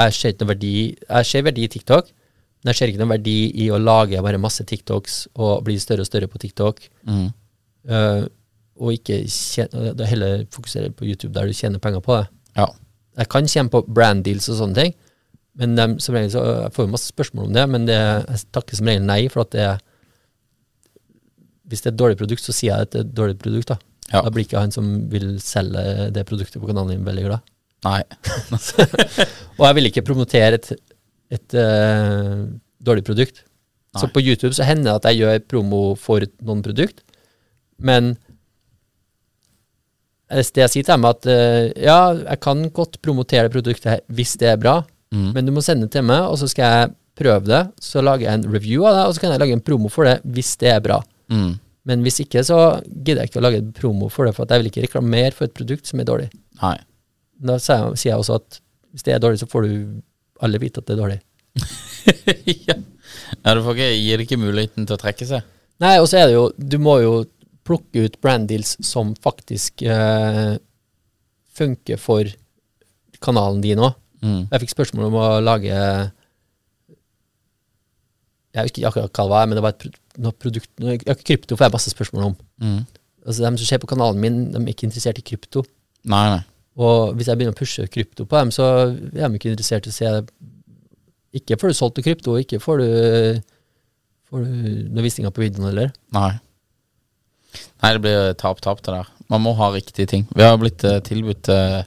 B: jeg ser ikke noe verdi Jeg ser verdi i TikTok, men jeg ser ikke noe verdi i å lage bare masse TikToks og bli større og større på TikTok,
C: Mm.
B: eh, og ikke tjene, da heller fokusere på YouTube, der du tjener penger på det.
C: Ja.
B: Jeg kan tjene på brand deals og sånne ting, men dem, som regel så, øh, jeg får jo masse spørsmål om det, men det, jeg takker som regel nei, for at det Hvis det er et dårlig produkt, så sier jeg at det er et dårlig produkt. Da
C: Ja.
B: Da blir ikke han som vil selge det produktet på kanalen din, veldig glad.
C: Nei.
B: Og jeg vil ikke promotere et, et eh, dårlig produkt. Så
C: Nei.
B: på YouTube så hender det at jeg gjør promo for noen produkt, men hvis det jeg sier til dem, er at eh, ja, jeg kan godt promotere det produktet her hvis det er bra,
C: Mm.
B: men du må sende det til meg, og så skal jeg prøve det. Så lager jeg en review av det, og så kan jeg lage en promo for det hvis det er bra.
C: Mm.
B: Men hvis ikke, så gidder jeg ikke å lage en promo for det, for at jeg vil ikke reklamere for et produkt som er dårlig.
C: <laughs> Nei.
B: Da sier jeg- sier jeg også at hvis det er dårlig, så får du alle vite at det er dårlig.
C: ja. ja, du får ikke Gir det ikke muligheten til å trekke seg.
B: Nei, og så er det jo Du må jo plukke ut brand deals som faktisk eh, funker for kanalen din òg.
C: Mm.
B: Jeg fikk spørsmål om å lage Jeg husker ikke akkurat hva det var, men det var et pro- noe produkt noe, ja, Krypto får jeg masse spørsmål om.
C: Mm.
B: Altså, De som ser på kanalen min, de er ikke interessert i krypto.
C: Nei, nei.
B: Og hvis jeg begynner å pushe krypto på dem, så er de ikke interessert i å se Ikke får du solgt noe krypto, og ikke får du, får du noen visninger på videoen heller.
C: Nei. Nei, det blir tap-tap det der. Man må ha riktige ting. Vi har blitt eh, tilbudt eh,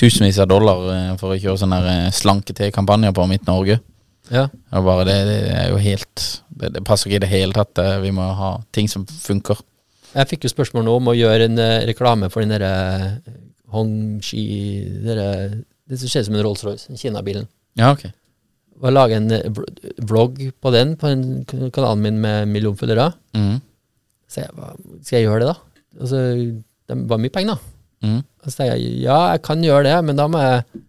C: tusenvis av dollar eh, for å kjøre sånne der, eh, slanke-te-kampanjer på Midt Norge.
B: Ja.
C: Det er, bare, det, det er jo helt det, det passer ikke i det hele tatt. eh, Vi må ha ting som funker.
B: Jeg fikk jo spørsmål nå om å gjøre en eh, reklame for den derre eh, Hongxi derre- Det som ser ut som en Rolls-Royce, den Kina-bilen.
C: Ja, ok.
B: Og lage en eh, vl- vlogg på den på den kan- kanalen min med en million følgere.
C: Mm.
B: Så jeg, hva- skal jeg gjøre det, da? Altså, det var mye penger, da.
C: Mm.
B: Og så tenkte jeg ja, jeg kan gjøre det, men da må jeg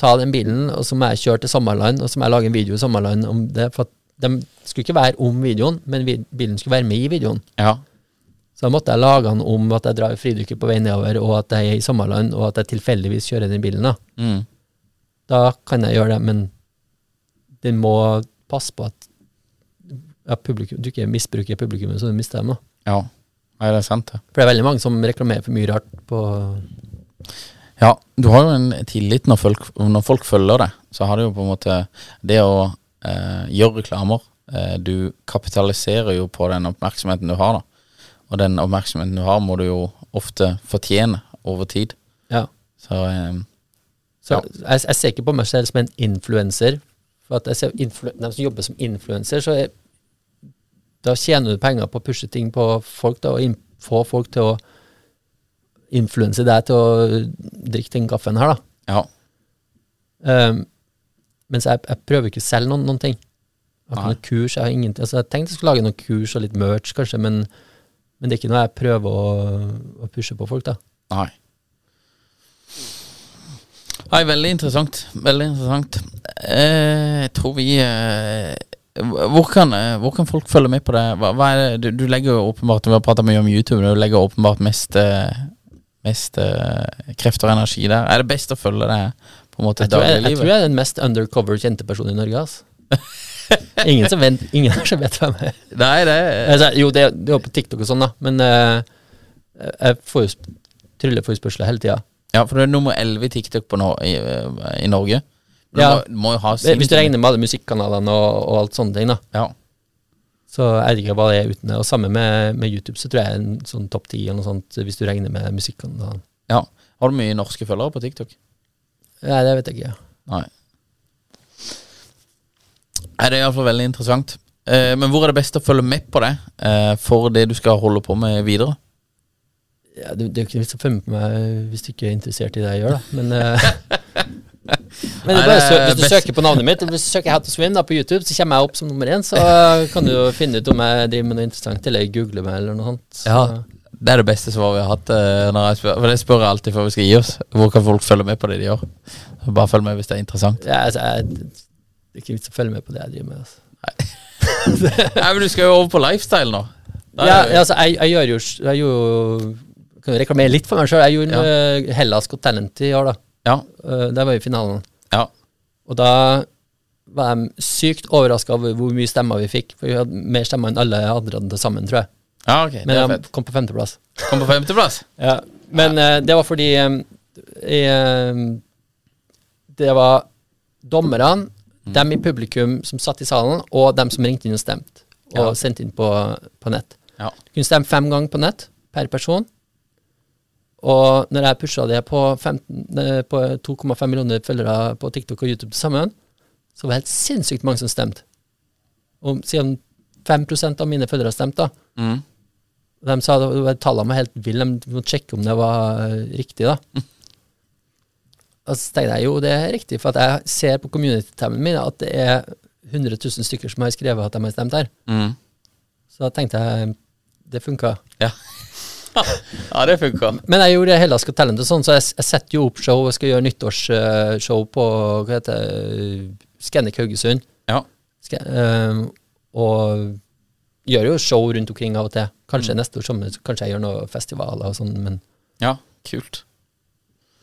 B: ta den bilen, og så må jeg kjøre til Sommerland, og så må jeg lage en video i Sommerland om det. For at de skulle ikke være om videoen, men vi- bilen skulle være med i videoen.
C: Ja.
B: Så da måtte jeg lage den om at jeg drar fridykker på vei nedover, og at jeg er i Sommerland, og at jeg tilfeldigvis kjører den bilen. Da
C: Mm.
B: Da kan jeg gjøre det, men den må passe på at ja, publikum, du ikke misbruker publikummet, så du mister dem. da.
C: ja. Nei, det er sant, det.
B: For det er veldig mange som reklamerer for mye rart på
C: Ja, du har jo en tillit når folk, når folk følger det. Så har du jo på en måte det å eh, gjøre reklamer. Eh, du kapitaliserer jo på den oppmerksomheten du har, da. Og den oppmerksomheten du har, må du jo ofte fortjene over tid.
B: Ja.
C: Så eh,
B: Så
C: Ja.
B: jeg, jeg ser ikke på meg selv som en influenser. For at jeg ser influ De som jobber som influenser, så er, da tjener du penger på å pushe ting på folk, da, og in- få folk til å influense deg til å drikke den kaffen her, da.
C: ja.
B: Um, mens jeg, jeg prøver ikke å selge noen, noen ting. Jeg har
C: Nei.
B: ikke noen kurs. Jeg har ingenting. Altså, jeg tenkte jeg skulle lage noen kurs og litt merch, kanskje, men, men det er ikke noe jeg prøver å, å pushe på folk, da.
C: Nei. Nei, veldig interessant. Veldig interessant. Eh, jeg tror vi eh, hvor, kan, eh, hvor kan folk følge med på det? Hva, hva er det? Du, du legger jo åpenbart Vi har prata mye om YouTube, men du legger åpenbart mest, eh, mest eh, krefter og energi der. Er det best å følge det på en måte
B: Jeg tror jeg, jeg
C: dagliglivet?
B: tror jeg er den mest undercover kjente personen i Norge. ass. ingen som vet, ingen her som vet hvem jeg er.
C: Nei, det
B: Altså, jo, det, det er jo på TikTok og sånn, da, men eh, jeg får jo sp- trylleforespørsler hele tida.
C: Ja, for du er nummer elleve i TikTok på nå, i, eh, i Norge. Du
B: Ja.
C: må, må jo ha sin-
B: Hvis du regner med alle musikkanalene og, og alt sånne ting, da,
C: Ja.
B: så jeg vet ikke hva det er uten det. Og samme med, med YouTube, så tror jeg er en sånn topp ti eller noe sånt, hvis du regner med musikkanalene.
C: ja. Har du mye norske følgere på TikTok?
B: Nei, det vet jeg ikke.
C: Nei. Nei, det er iallfall veldig interessant. Eh, men hvor er det best å følge med på det eh, for det du skal holde på med videre?
B: Ja, det, det er jo ikke noe vits å følge med meg hvis du ikke er interessert i det jeg gjør, da. Men,
C: <laughs>
B: eh, men det
C: Nei,
B: er bare
C: det
B: sø
C: er
B: hvis du
C: best-
B: søker på
C: <laughs>
B: navnet mitt, hvis du søker How to Swim da, på YouTube, så kommer jeg opp som nummer én. Så <laughs> eh, kan du jo finne ut om jeg driver med noe interessant, eller googler meg, eller noe sånt. Så,
C: Det er det beste svaret vi har hatt. eh, når jeg spør, for Det spør jeg alltid før vi skal gi oss. Hvor kan folk følge med på det de gjør? Bare følg med hvis det er
B: <laughs>
C: interessant.
B: ja, altså, jeg, det er ikke vits å følge med på det jeg driver med. Altså.
C: Nei, men Du skal jo over på lifestyle nå. Da er
B: Ja,
C: det-
B: ja, altså, jeg, jeg gjør jo s- Jeg gjorde jo Kan jo reklamere litt for meg sjøl. Jeg gjorde
C: Ja.
B: eh, Hellas Got Talent i år, da.
C: ja,
B: Eh, Der var jo finalen.
C: ja.
B: Og da var jeg sykt overraska over hvor mye stemmer vi fikk. For vi hadde mer stemmer enn alle andre hadde til sammen, tror jeg.
C: ja ok. Det
B: Men
C: er
B: jeg
C: fett.
B: kom på femteplass.
C: Kom på femteplass.
B: Men eh, det var fordi eh, eh, Det var dommerne,
C: Mm.
B: dem i publikum som satt i salen, og dem som ringte inn og stemte. Og
C: Ja.
B: sendte inn på, på nett.
C: Ja.
B: Du kunne stemme fem ganger på nett per person. Og når jeg pusha det på, 15 eh, på 2,5 millioner følgere på TikTok og YouTube til sammen, så var det helt sinnssykt mange som stemte. Og siden 5 av mine følgere stemte, da.
C: Mm.
B: De sa det var- tallene var helt ville, de måtte sjekke om det var eh, riktig, da.
C: Mm.
B: Og så tenkte jeg jo, det er riktig, for at jeg ser på community-tabben min at det er 100 000 stykker som har skrevet at de har stemt her.
C: Mm.
B: Så da tenkte jeg det funka.
C: Ja. <laughs> ja, det funka.
B: <laughs> Men jeg gjorde Hellas Got Talent og sånn, så jeg, jeg setter jo opp show. Jeg skal gjøre nyttårsshow på hva heter det, Scandic Haugesund.
C: Ja.
B: Ska- eh, og gjør jo show rundt omkring av og til. Kanskje neste år sommer så kanskje jeg gjør noen festivaler og sånn, men
C: Ja, kult.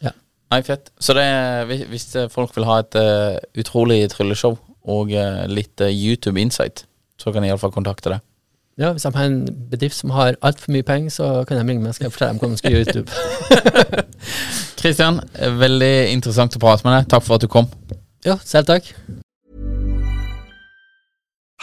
B: Ja.
C: Nei, fett. Så det er, hvis- hvis eh, folk vil ha et eh, utrolig trylleshow og eh, litt eh, YouTube insight, så kan de iallfall kontakte deg.
B: ja, hvis de har en bedrift som har altfor mye penger, så kan de ringe meg, så skal jeg fortelle dem hva de skal gjøre i YouTube.
C: Kristian, eh, veldig interessant å prate med deg. Takk for at du kom.
B: ja, selv takk.